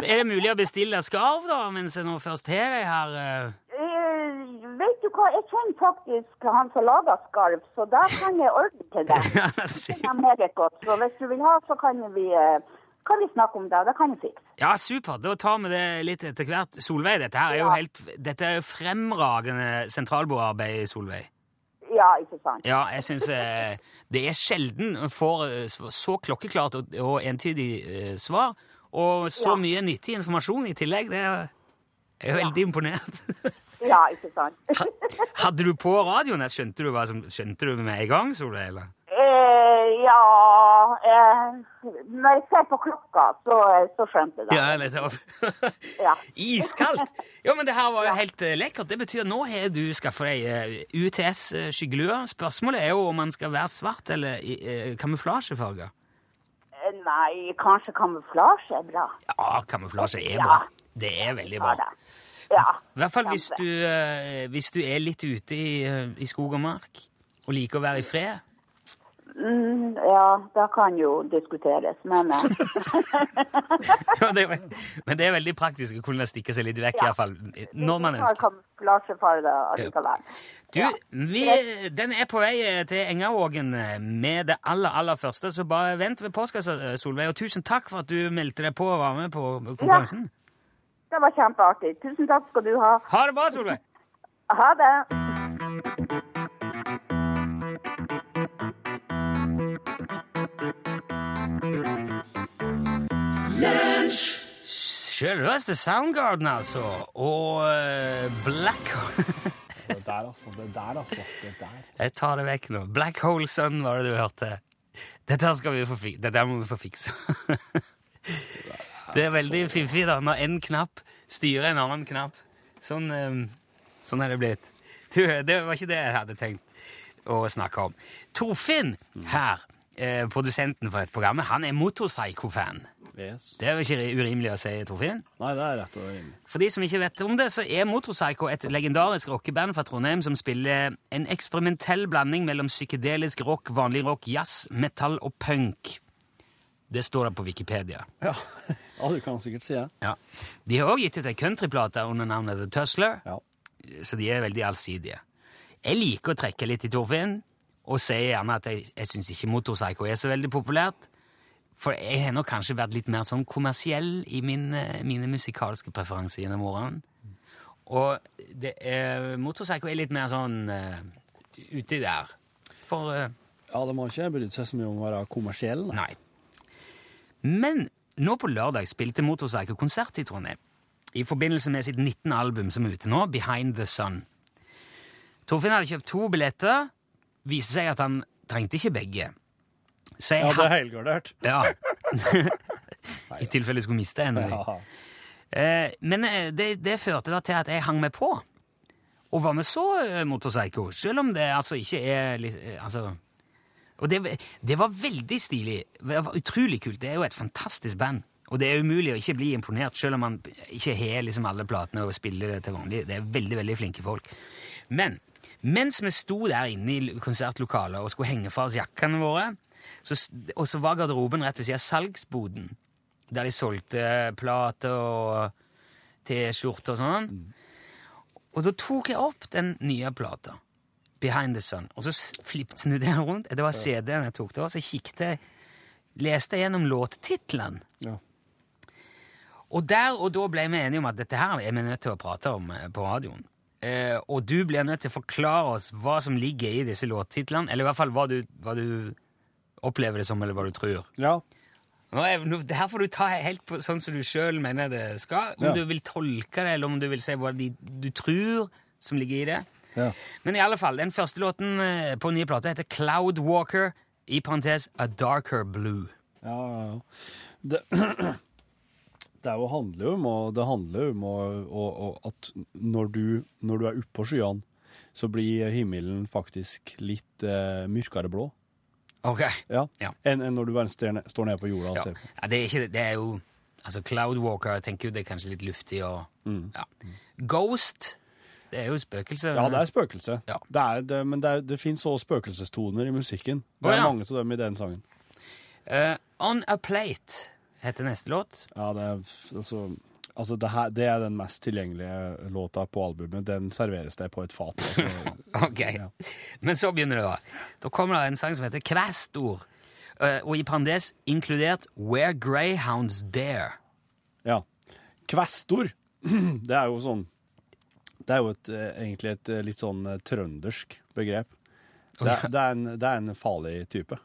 Speaker 2: Er det mulig å bestille skarv, da, mens jeg nå først har deg her? eh?
Speaker 9: Eh, vet du hva, jeg kjenner faktisk han som lager skarv, så da kan jeg ordne til deg.
Speaker 2: Ja, sy-
Speaker 9: Det er meget godt, så hvis du vil ha, så kan vi, eh, kan vi snakke om det. Det kan jeg fikse.
Speaker 2: Ja, super. Da tar vi det litt etter hvert. Solveig, dette her er jo
Speaker 9: Ja.
Speaker 2: helt Dette er jo fremragende sentralbordarbeid, Solveig.
Speaker 9: Ja, ikke sant?
Speaker 2: Ja, jeg syns eh, det er sjelden en får eh, s- så klokkeklart og, og entydig eh, svar, og så
Speaker 9: Ja.
Speaker 2: mye nyttig informasjon i tillegg. Det er, jeg er veldig imponert.
Speaker 9: Ja, ikke sant?
Speaker 2: Hadde du på radioen? her? Skjønte du, hva som, skjønte du med en gang, Solveig? eller?
Speaker 9: Eh, ja eh, Når jeg ser på klokka, så, så skjønte jeg det.
Speaker 2: Ja, nettopp.
Speaker 9: Ja.
Speaker 2: Iskaldt! Ja, men det her var jo helt eh, lekkert. Det betyr at nå har du skaffa deg eh, UTS eh, skyggelue. Spørsmålet er jo om man skal være svart eller i, eh, kamuflasjefarga.
Speaker 9: Eh, Nei, kanskje kamuflasje er bra.
Speaker 2: Ja, kamuflasje er
Speaker 9: Ja.
Speaker 2: bra. Det er veldig
Speaker 9: Ja
Speaker 2: bra.
Speaker 9: da. Ja.
Speaker 2: I hvert fall hvis
Speaker 9: Kjempe.
Speaker 2: du, eh, hvis du er litt ute i, eh, i skog og mark og liker å være i fred.
Speaker 9: Mm, ja, det kan jo diskuteres, men eh,
Speaker 2: Ja, det er, vel- men det er veldig praktisk å kunne stikke seg litt vekk, i hvert fall når man
Speaker 9: vi tar
Speaker 2: ønsker.
Speaker 9: kamuflasje for det allikevel.
Speaker 2: Du, vi, den er på vei eh, til Engavågen eh, med det aller, aller første, så bare vent ved postkassa, eh, Solveig. Og tusen takk for at du meldte deg på og var med på konkurransen.
Speaker 9: Det var kjempeartig. Tusen takk skal du ha.
Speaker 2: Ha det bra, Solveig!
Speaker 9: Ha det.
Speaker 2: Selveste Soundgarden, altså. Og eh, Black
Speaker 8: Det der, altså. Det der, altså. Det der.
Speaker 2: Jeg tar det vekk nå. Black Hole Sun var det du hørte. Dette skal vi få fi- Dette må vi få fiksa. Det er veldig fiffig da, når en knapp styrer en annen knapp. Sånn, eh, sånn er det blitt. Du, det var ikke det jeg hadde tenkt å snakke om. Torfinn her, eh, produsenten for dette programmet, han er motorpsycho-fan.
Speaker 8: Yes.
Speaker 2: Det er jo ikke urimelig å si, Torfinn?
Speaker 8: Nei, det er rett og rimelig.
Speaker 2: For de som ikke vet om det, så er Motorpsycho et legendarisk rockeband fra Trondheim som spiller en eksperimentell blanding mellom psykedelisk rock, vanlig rock, jazz, metal og punk. Det står det på Wikipedia.
Speaker 8: Ja. ja, du kan sikkert si det.
Speaker 2: Ja. De har også gitt ut ei countryplate under navnet The Tussler,
Speaker 8: Ja.
Speaker 2: så de er veldig allsidige. Jeg liker å trekke litt i Torfinn, og sier gjerne at jeg, jeg syns ikke Motorpsycho er så veldig populært. For jeg har nok kanskje vært litt mer sånn kommersiell i min, eh, mine musikalske preferanser gjennom årene. Og det er, Motorpsycho er litt mer sånn eh, uti der. For eh,
Speaker 8: Ja, de har ikke brydd seg så mye om å være kommersielle. da.
Speaker 2: Nei. Men nå på lørdag spilte Motorpsycho konsert i Trondheim. I forbindelse med sitt 19. album som er ute nå, Behind the Sun. Torfinn hadde kjøpt to billetter. Viste seg at han trengte ikke begge. Så jeg
Speaker 8: Ja, det er
Speaker 2: ha-
Speaker 8: helgardert.
Speaker 2: ja. I tilfelle jeg skulle miste en av dem.
Speaker 8: Ja.
Speaker 2: Eh, men eh, det, det førte da til at jeg hang meg på. Og var med så eh, motorpsycho, selv om det altså ikke er litt, eh, altså, Og det, det var veldig stilig. Det var utrolig kult. Det er jo et fantastisk band. Og det er umulig å ikke bli imponert, selv om man ikke har liksom alle platene og spiller det til vanlig. Det er veldig, veldig flinke folk. Men mens vi sto der inne i konsertlokalet og skulle henge fra oss jakkene våre, så, s- og så var garderoben rett ved siden av salgsboden, der de solgte plater og T-skjorte og sånn. Og da tok jeg opp den nye plata, Behind the Sun, og så s- flipp- snudde jeg den rundt. Det var CD-en jeg tok da, så kikket jeg, leste jeg gjennom låttitlene.
Speaker 8: Ja.
Speaker 2: Og der og da ble vi enige om at dette her er vi nødt til å prate om eh, på radioen. Eh, og du blir nødt til å forklare oss hva som ligger i disse låttitlene, eller i hvert fall hva du, hva du opplever det som, eller hva du tror.
Speaker 8: ja.
Speaker 2: Nå er, nå, det her får du ta helt på, sånn som du sjøl mener det skal. Om
Speaker 8: Ja.
Speaker 2: du vil tolke det, eller om du vil se hva de, du tror som ligger i det.
Speaker 8: Ja.
Speaker 2: Men i alle fall, den første låten eh, på nye plate heter Cloud Walker, i parentes A Darker Blue.
Speaker 8: Ja, ja, ja. Det, det er jo handler jo om, å- det handler jo om å- å- å- at når du, når du er oppå skyene, så blir himmelen faktisk litt eh, mørkere blå.
Speaker 2: Ok.
Speaker 8: Ja.
Speaker 2: Ja.
Speaker 8: Enn enn når du bare står ned- står nede på jorda og
Speaker 2: Ja.
Speaker 8: ser på.
Speaker 2: Ja, det, er ikke, det er jo Altså, Cloud Walker, jeg tenker jo det er kanskje litt luftig og ja. Ghost, det er jo spøkelse.
Speaker 8: Mm. Ja, det er spøkelse.
Speaker 2: Ja.
Speaker 8: Det er, det, men det, er- det fins òg spøkelsestoner i musikken. Det
Speaker 2: Å,
Speaker 8: er
Speaker 2: ja.
Speaker 8: mange av dem i den sangen.
Speaker 2: Eh, On A Plate heter neste låt.
Speaker 8: Ja, det er f- altså Altså, det, her, det er den mest tilgjengelige låta på albumet. Den serveres deg på et fat. Altså.
Speaker 2: Ok, men så begynner det da. Da kommer det en sang som heter Kvæstor, eh, og i parentes inkludert Where Greyhounds Dare.
Speaker 8: Ja. Kvestor, det er jo sånn Det er jo et, eh, egentlig et eh, litt sånn eh, trøndersk begrep. Det, er- det, er en, det er en farlig type.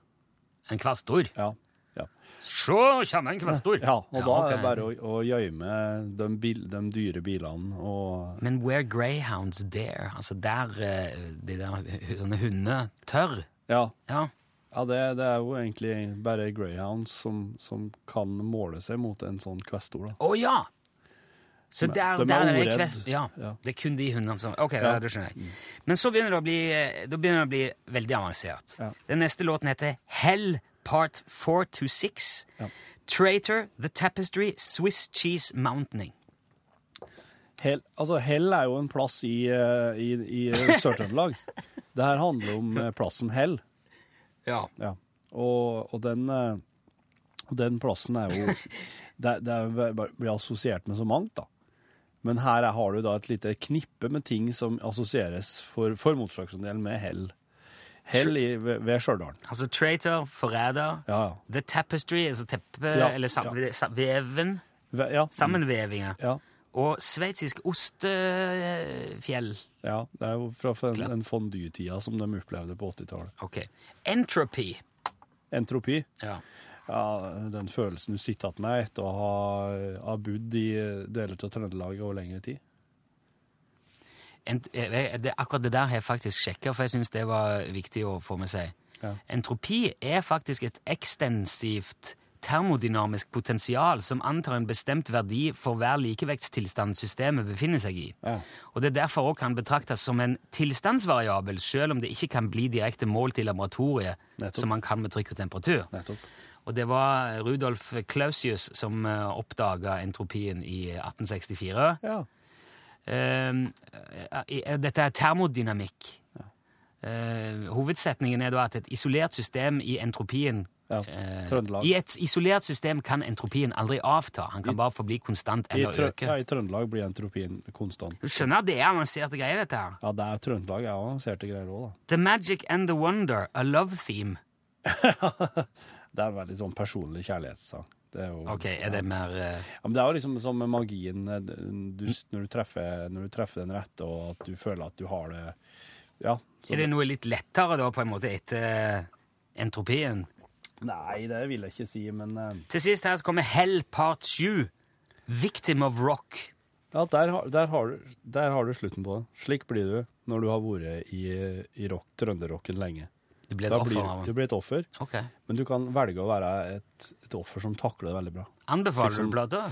Speaker 2: En kvæstor?
Speaker 8: Ja. Ja,
Speaker 2: Så kjenner jeg en kvæstor.
Speaker 8: ja og da er
Speaker 2: ok.
Speaker 8: det bare å, å gjemme de, bil, de dyre bilene og
Speaker 2: Men Where Greyhounds Dare, altså der eh, de der hu- sånne hundene tør.
Speaker 8: Ja.
Speaker 2: Ja,
Speaker 8: ja det, det er jo egentlig bare greyhounds som, som kan måle seg mot en sånn kvestor, da.
Speaker 2: Å ja! Så
Speaker 8: Men
Speaker 2: der,
Speaker 8: de er
Speaker 2: der er det
Speaker 8: ordredd.
Speaker 2: kvest... Ja,
Speaker 8: Ja.
Speaker 2: det er kun de hundene som Ok,
Speaker 8: Ja.
Speaker 2: da, da skjønner jeg. Men så begynner det å bli, eh, da begynner det å bli veldig avansert.
Speaker 8: Ja.
Speaker 2: Den neste låten heter Hell Part 4 to 6.
Speaker 8: Ja.
Speaker 2: Traitor, The Tapestry, Swiss Cheese Mountaining.
Speaker 8: Hell, altså, Hell er jo en plass i, eh, i, i Sør-Trøndelag. det her handler om eh, plassen Hell.
Speaker 2: Ja.
Speaker 8: Ja. Og, og den, eh, og den plassen er jo Det, det er, bare- blir assosiert med så mangt, da. Men her er- har du da et lite knippe med ting som assosieres for, for motorsykkelens del med hell. Hell i, ved, ved Stjørdal.
Speaker 2: Altså Traitor, Forræder.
Speaker 8: Ja, ja.
Speaker 2: The Tapestry, altså teppe,
Speaker 8: Ja,
Speaker 2: eller sam, sa- veven,
Speaker 8: Ve- ja.
Speaker 2: sammenvevinger.
Speaker 8: Ja,
Speaker 2: Og sveitsisk ostefjell.
Speaker 8: ja. Det er jo fra den, den fondytida som de opplevde på 80-tallet.
Speaker 2: Ok. Entropy.
Speaker 8: Entropi.
Speaker 2: Ja.
Speaker 8: Ja, den følelsen du sitter igjen med etter å ha, ha bodd i deler av Trøndelag over lengre tid.
Speaker 2: Ent, eh, det, akkurat det der har jeg faktisk sjekka, for jeg syns det var viktig å få med seg. Entropi er faktisk et ekstensivt termodynamisk potensial som antar en bestemt verdi for hver likevektstilstand systemet befinner seg i. Og det er derfor også kan betraktes som en tilstandsvariabel, selv om det ikke kan bli direkte målt i laboratoriet,
Speaker 8: Nettopp.
Speaker 2: som man kan med trykk og temperatur.
Speaker 8: Nettopp.
Speaker 2: Og det var Rudolf Clausius som oppdaga entropien i 1864.
Speaker 8: Ja.
Speaker 2: Eh, eh, eh, dette er termodynamikk. Eh, hovedsetningen er da at et isolert system i entropien
Speaker 8: ja.
Speaker 2: eh,
Speaker 8: Trøndelag.
Speaker 2: I et isolert system kan entropien aldri avta. Han kan bare forbli konstant
Speaker 8: I,
Speaker 2: eller
Speaker 8: trø ja,
Speaker 2: øke.
Speaker 8: I Trøndelag blir entropien konstant.
Speaker 2: Du skjønner at det er avanserte greier, dette her.
Speaker 8: Ja, det er Trøndelag er avanserte greier òg, da.
Speaker 2: The Magic and the Wonder, a love theme.
Speaker 8: Det er en veldig sånn personlig kjærlighetssang. Det er jo,
Speaker 2: Ok, er det mer eh,
Speaker 8: ja, men det er jo liksom som med magien eh, du, når, du treffer, når du treffer den rette, og at du føler at du har det Ja. så-
Speaker 2: Er det noe litt lettere, da, på en måte, etter eh, entropien?
Speaker 8: Nei, det vil jeg ikke si, men eh,
Speaker 2: Til sist her så kommer Hell part 7. Victim of rock.
Speaker 8: ja, der, har- der, har du, der har du slutten på det. Slik blir du når du har vært i, i rock, trønderrocken lenge.
Speaker 2: Du ble et
Speaker 8: Da
Speaker 2: offer
Speaker 8: blir,
Speaker 2: av
Speaker 8: du
Speaker 2: den.
Speaker 8: blir et offer,
Speaker 2: Ok.
Speaker 8: men du kan velge å være et, et offer som takler det veldig bra.
Speaker 2: Anbefaler
Speaker 8: Liksom-
Speaker 2: du plata?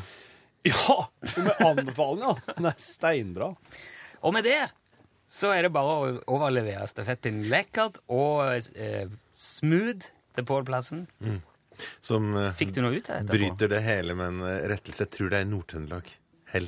Speaker 8: Ja! Med anbefalinga! Den er steinbra.
Speaker 2: Og med det så er det bare å overlevere stafettpinnen lekkert og eh, smooth til Pål Plassen.
Speaker 10: Som eh,
Speaker 2: Fikk du noe ut av dette? Pål?
Speaker 10: bryter det hele med en eh, rettelse. Jeg tror det er i Nord-Trøndelag. Hell.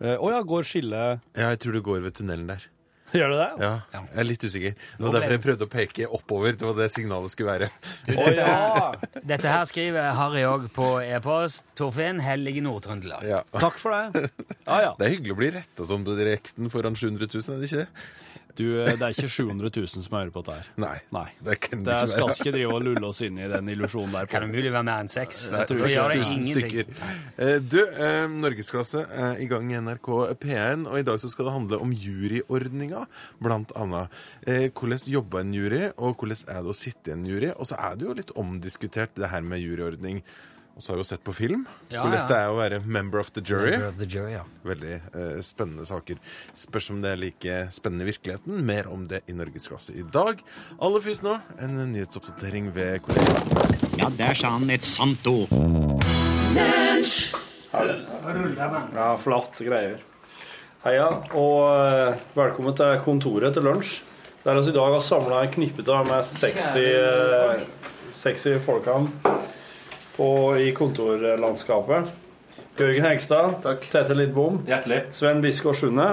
Speaker 8: Eh, Å ja, går skillet
Speaker 10: Ja, jeg tror det går ved tunnelen der.
Speaker 8: Gjør det det?
Speaker 10: Ja, Jeg er litt usikker. Det var
Speaker 2: ble
Speaker 10: derfor jeg
Speaker 2: det-
Speaker 10: prøvde å peke oppover. Det var det signalet skulle være.
Speaker 8: Å ja!
Speaker 2: Dette her skriver Harry òg på e-post. Torfinn Hellig i Nord-Trøndelag.
Speaker 10: Ja.
Speaker 8: Takk for det. Ja, ja.
Speaker 10: Det er hyggelig å bli retta som direkten foran 700 000, er det ikke det?
Speaker 8: Du, eh, det er ikke 700 000 som hører på dette her.
Speaker 10: Nei.
Speaker 8: Nei.
Speaker 10: Det kan
Speaker 8: Det er,
Speaker 10: ikke
Speaker 8: skal
Speaker 10: være.
Speaker 8: ikke drive og lulle oss inn i den illusjonen der.
Speaker 2: Kan
Speaker 8: Pål.
Speaker 2: umulig være mer enn seks.
Speaker 10: Nei,
Speaker 2: Så gjør det
Speaker 10: 6000
Speaker 2: ingenting.
Speaker 10: stykker. Eh, Du, eh, Norgesklasse er i gang i NRK P1, og i dag så skal det handle om juryordninga, blant annet. Eh, Hvordan jobber en jury, og hvordan er det å sitte i en jury? Og så er det jo litt omdiskutert, det her med juryordning. Og så har vi jo sett på film
Speaker 2: Ja,
Speaker 10: hvordan
Speaker 2: ja.
Speaker 10: det er å være member of the jury.
Speaker 2: Member of the jury, ja.
Speaker 10: Veldig eh, spennende saker. Spørs om det er like spennende i virkeligheten. Mer om det i Norgesklasse i dag. Aller først nå en nyhetsoppdatering ved kollega
Speaker 11: Ja, der sa han et sant ord.
Speaker 8: Ja, flatt greier. Heia, og eh, velkommen til kontoret til lunsj. Der oss i dag har samla en knippet av med sexy, eh, sexy folkene på- i kontorlandskapet. Jørgen Hegstad. Tete Lidbom. Sven Biskår Sunde.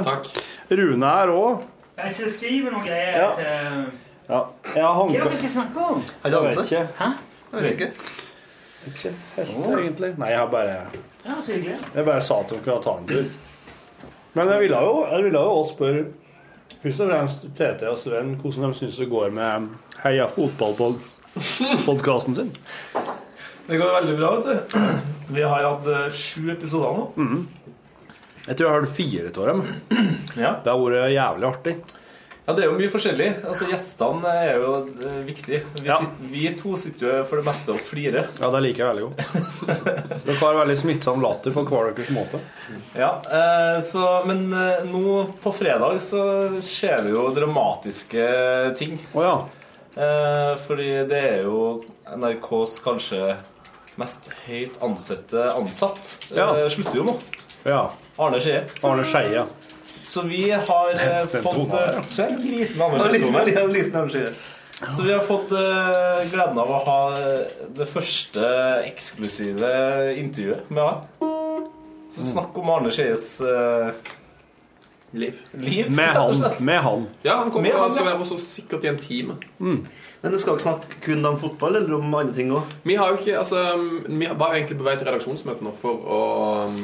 Speaker 8: Rune er òg.
Speaker 2: Jeg skal skrive noe greier
Speaker 8: Ja.
Speaker 2: til
Speaker 8: Ja. Jeg
Speaker 2: Hva er
Speaker 8: har
Speaker 2: det
Speaker 8: håndkle
Speaker 2: vi skal snakke om?
Speaker 8: Jeg vet ikke. Hæ? Jeg vet ikke. helt, egentlig. Nei, jeg bare
Speaker 2: Ja, så hyggelig.
Speaker 8: Jeg bare sa at hun kunne ta en tur. Men jeg ville jo, jeg ville jo også spørre først og fremst Tete og Sven hvordan de syns det går med Heia fotball-podkasten sin.
Speaker 12: Det går veldig bra, vet du. Vi har hatt eh, sju episoder nå.
Speaker 8: Jeg tror jeg hørte fire av dem.
Speaker 12: Ja.
Speaker 8: Det har vært jævlig artig.
Speaker 12: Ja, det er jo mye forskjellig. Altså, Gjestene er jo eh, viktige. Vi,
Speaker 8: Ja.
Speaker 12: sitter, vi to sitter jo for det meste og flirer.
Speaker 8: Ja, det liker jeg veldig godt. Dere har veldig smittsom latter på hver deres måte.
Speaker 12: Ja, eh, så, Men eh, nå på fredag så skjer det jo dramatiske ting.
Speaker 8: Å ja.
Speaker 12: Eh, fordi det er jo NRKs kanskje mest høyt ansette ansatt.
Speaker 8: Ja.
Speaker 12: Eh, slutter jo nå.
Speaker 8: ja.
Speaker 12: Arne Skeie.
Speaker 8: Arne Skeie.
Speaker 12: Så vi har eh,
Speaker 8: den
Speaker 12: fått
Speaker 8: tonen
Speaker 12: eh,
Speaker 8: her,
Speaker 12: en liten Arne Skeie-tone. Så vi har fått eh, gleden av å ha eh, det første eksklusive intervjuet med han. Så snakk om Arne Skeies eh,
Speaker 13: Liv.
Speaker 12: liv.
Speaker 8: Med
Speaker 12: rett og
Speaker 8: han.
Speaker 12: slett.
Speaker 8: Med han.
Speaker 13: Ja, han kommer
Speaker 12: Med han,
Speaker 13: han skal
Speaker 12: ja.
Speaker 13: være hos oss sikkert i en time.
Speaker 14: Men det skal ikke snakke kun om fotball eller om andre ting òg.
Speaker 13: Vi har jo ikke, altså, vi var egentlig på vei til redaksjonsmøte nå for å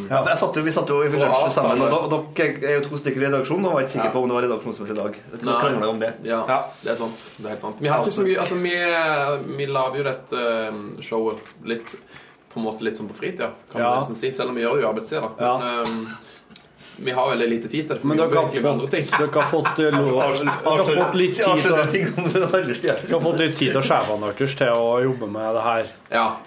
Speaker 14: Ja. for jeg satt jo- vi satt jo i
Speaker 13: Og
Speaker 14: lunsj
Speaker 13: avtale.
Speaker 14: sammen, og da- og dere er jo to stykker i redaksjonen. Og jeg var ikke
Speaker 13: Ja.
Speaker 14: sikker på om det var redaksjonsmøte i dag. Dere
Speaker 13: Nei.
Speaker 14: krangla om det.
Speaker 13: Ja,
Speaker 12: Ja.
Speaker 13: det er sant. Det er helt sant. Vi har ikke så mye Altså, vi, vi lager jo dette um, showet litt på en måte litt sånn på fritida, kan
Speaker 8: Ja.
Speaker 13: man nesten si. Selv om vi gjør det jo i arbeidstida, da. Men, um, Vi har veldig lite tid til det. for
Speaker 8: Men
Speaker 13: vi
Speaker 8: dere har
Speaker 13: jobber egentlig med andre
Speaker 8: fått,
Speaker 13: ting.
Speaker 8: dere har fått, eh, lov- dere har fått litt tid til å Dere har fått litt tid til sjefene deres til å jobbe med det her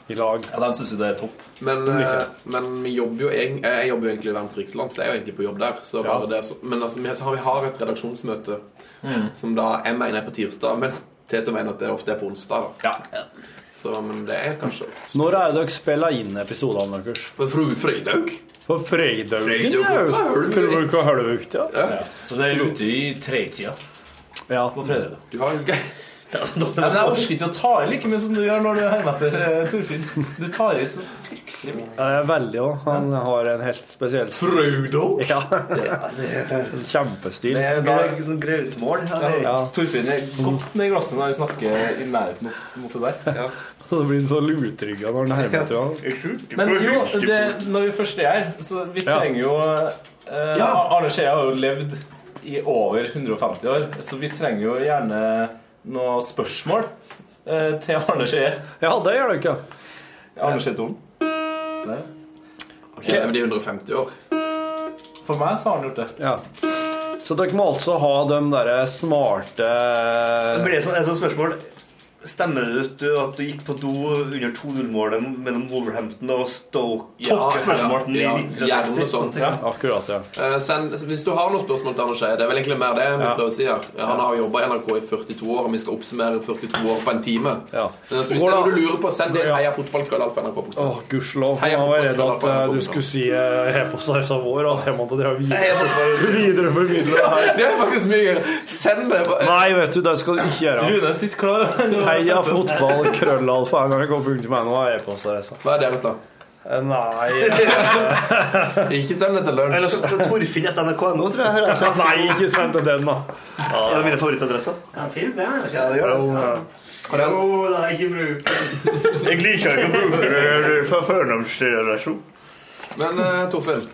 Speaker 8: i lag.
Speaker 13: Ja, De syns jo det er topp. Men,
Speaker 8: De liker
Speaker 13: eh,
Speaker 8: det.
Speaker 13: men vi jobber jo egen- eh, jeg jobber jo egentlig i Verdens rikeste land, så jeg er jo egentlig på jobb der. Så bare det, er så, men altså, vi, så har, vi har et redaksjonsmøte
Speaker 12: Mm.
Speaker 13: som da jeg mener er på tirsdag, mens Tete mener at det ofte er på onsdag. Da. Så, men det er kanskje
Speaker 8: Når er det dere spiller inn episodene deres?
Speaker 13: På fredag.
Speaker 8: På fredagen,
Speaker 12: Fredag
Speaker 8: ja.
Speaker 12: klokka halv ett.
Speaker 8: Kunne bruke halv ukt, ja.
Speaker 12: Ja. Så det er ute i tretida
Speaker 8: ja.
Speaker 12: på fredag.
Speaker 13: Du har jo
Speaker 12: Ja, men jeg orker ikke å ta i like mye som du gjør når du henger etter eh, Torfinn. Du tar i så fryktelig mye.
Speaker 8: Ja, det er veldig òg. Han har en helt spesiell
Speaker 13: Frodo?
Speaker 8: Ja. En kjempestil.
Speaker 12: Det er bare- Greg-
Speaker 8: sånn grautmål.
Speaker 12: Ja, Torfinn er godt med i glasset når han snakker i nærheten mot, mot det der.
Speaker 8: Og så blir han så lutrygga når han nærmer seg.
Speaker 12: Men jo, det, når vi først er her, så vi
Speaker 8: Ja.
Speaker 12: trenger jo eh, Arne Skjea har jo levd i over 150 år, så vi trenger jo gjerne noen spørsmål eh, til Arne Skjea.
Speaker 8: Ja, det gjør du ikke.
Speaker 12: Arne Skjea Thon. Der.
Speaker 13: Ok, men de er 150 år.
Speaker 12: For meg så har han gjort det.
Speaker 8: Ja. Så dere må altså ha de derre smarte
Speaker 14: Det blir sånn, et sånt spørsmål. Stemmer det at du, at du gikk på do under 2-0-målet mellom Wolverhampton og Stoke?
Speaker 13: Ja,
Speaker 14: Topp spørsmål.
Speaker 13: ja, ja.
Speaker 14: i 1960.
Speaker 13: Gjerne noe sånt.
Speaker 14: Ja.
Speaker 8: Akkurat, ja.
Speaker 13: Eh, send, hvis du har noen spørsmål til Anders Eie, det er vel egentlig mer det vi
Speaker 14: Ja.
Speaker 13: prøver å si her. Han har jobba i NRK i 42 år, og vi skal oppsummere 42 år på en time. Men altså, hvis det er noe du lurer på, send det heia fotballkrøllalfa.nrk.no.
Speaker 8: Å, gudskjelov. for Jeg var redd at eh, du skulle si eh, Hepossarsa vår, og at jeg måtte drive videre- videreformidle det her.
Speaker 13: Det er faktisk mye gøyere. Send det.
Speaker 8: Nei, vet du, det skal du ikke gjøre.
Speaker 12: Rune sitter klar.
Speaker 8: Heia fotball, krøllalfa, nrk.no og e-postadresse.
Speaker 13: Hva er deres, da?
Speaker 8: Eh, Nei
Speaker 13: Ikke send det til lunsj.
Speaker 14: Eller så så Torfinn etter NRK.no, tror jeg.
Speaker 8: Nei, ikke send til den, da.
Speaker 14: En av mine favorittadresser.
Speaker 2: Ja, fins det.
Speaker 14: Ja, det gjør det.
Speaker 2: Jo da, ikke bruk
Speaker 14: Jeg liker ikke å bruke det for førnavnsrelasjon.
Speaker 13: Men eh, Torfinn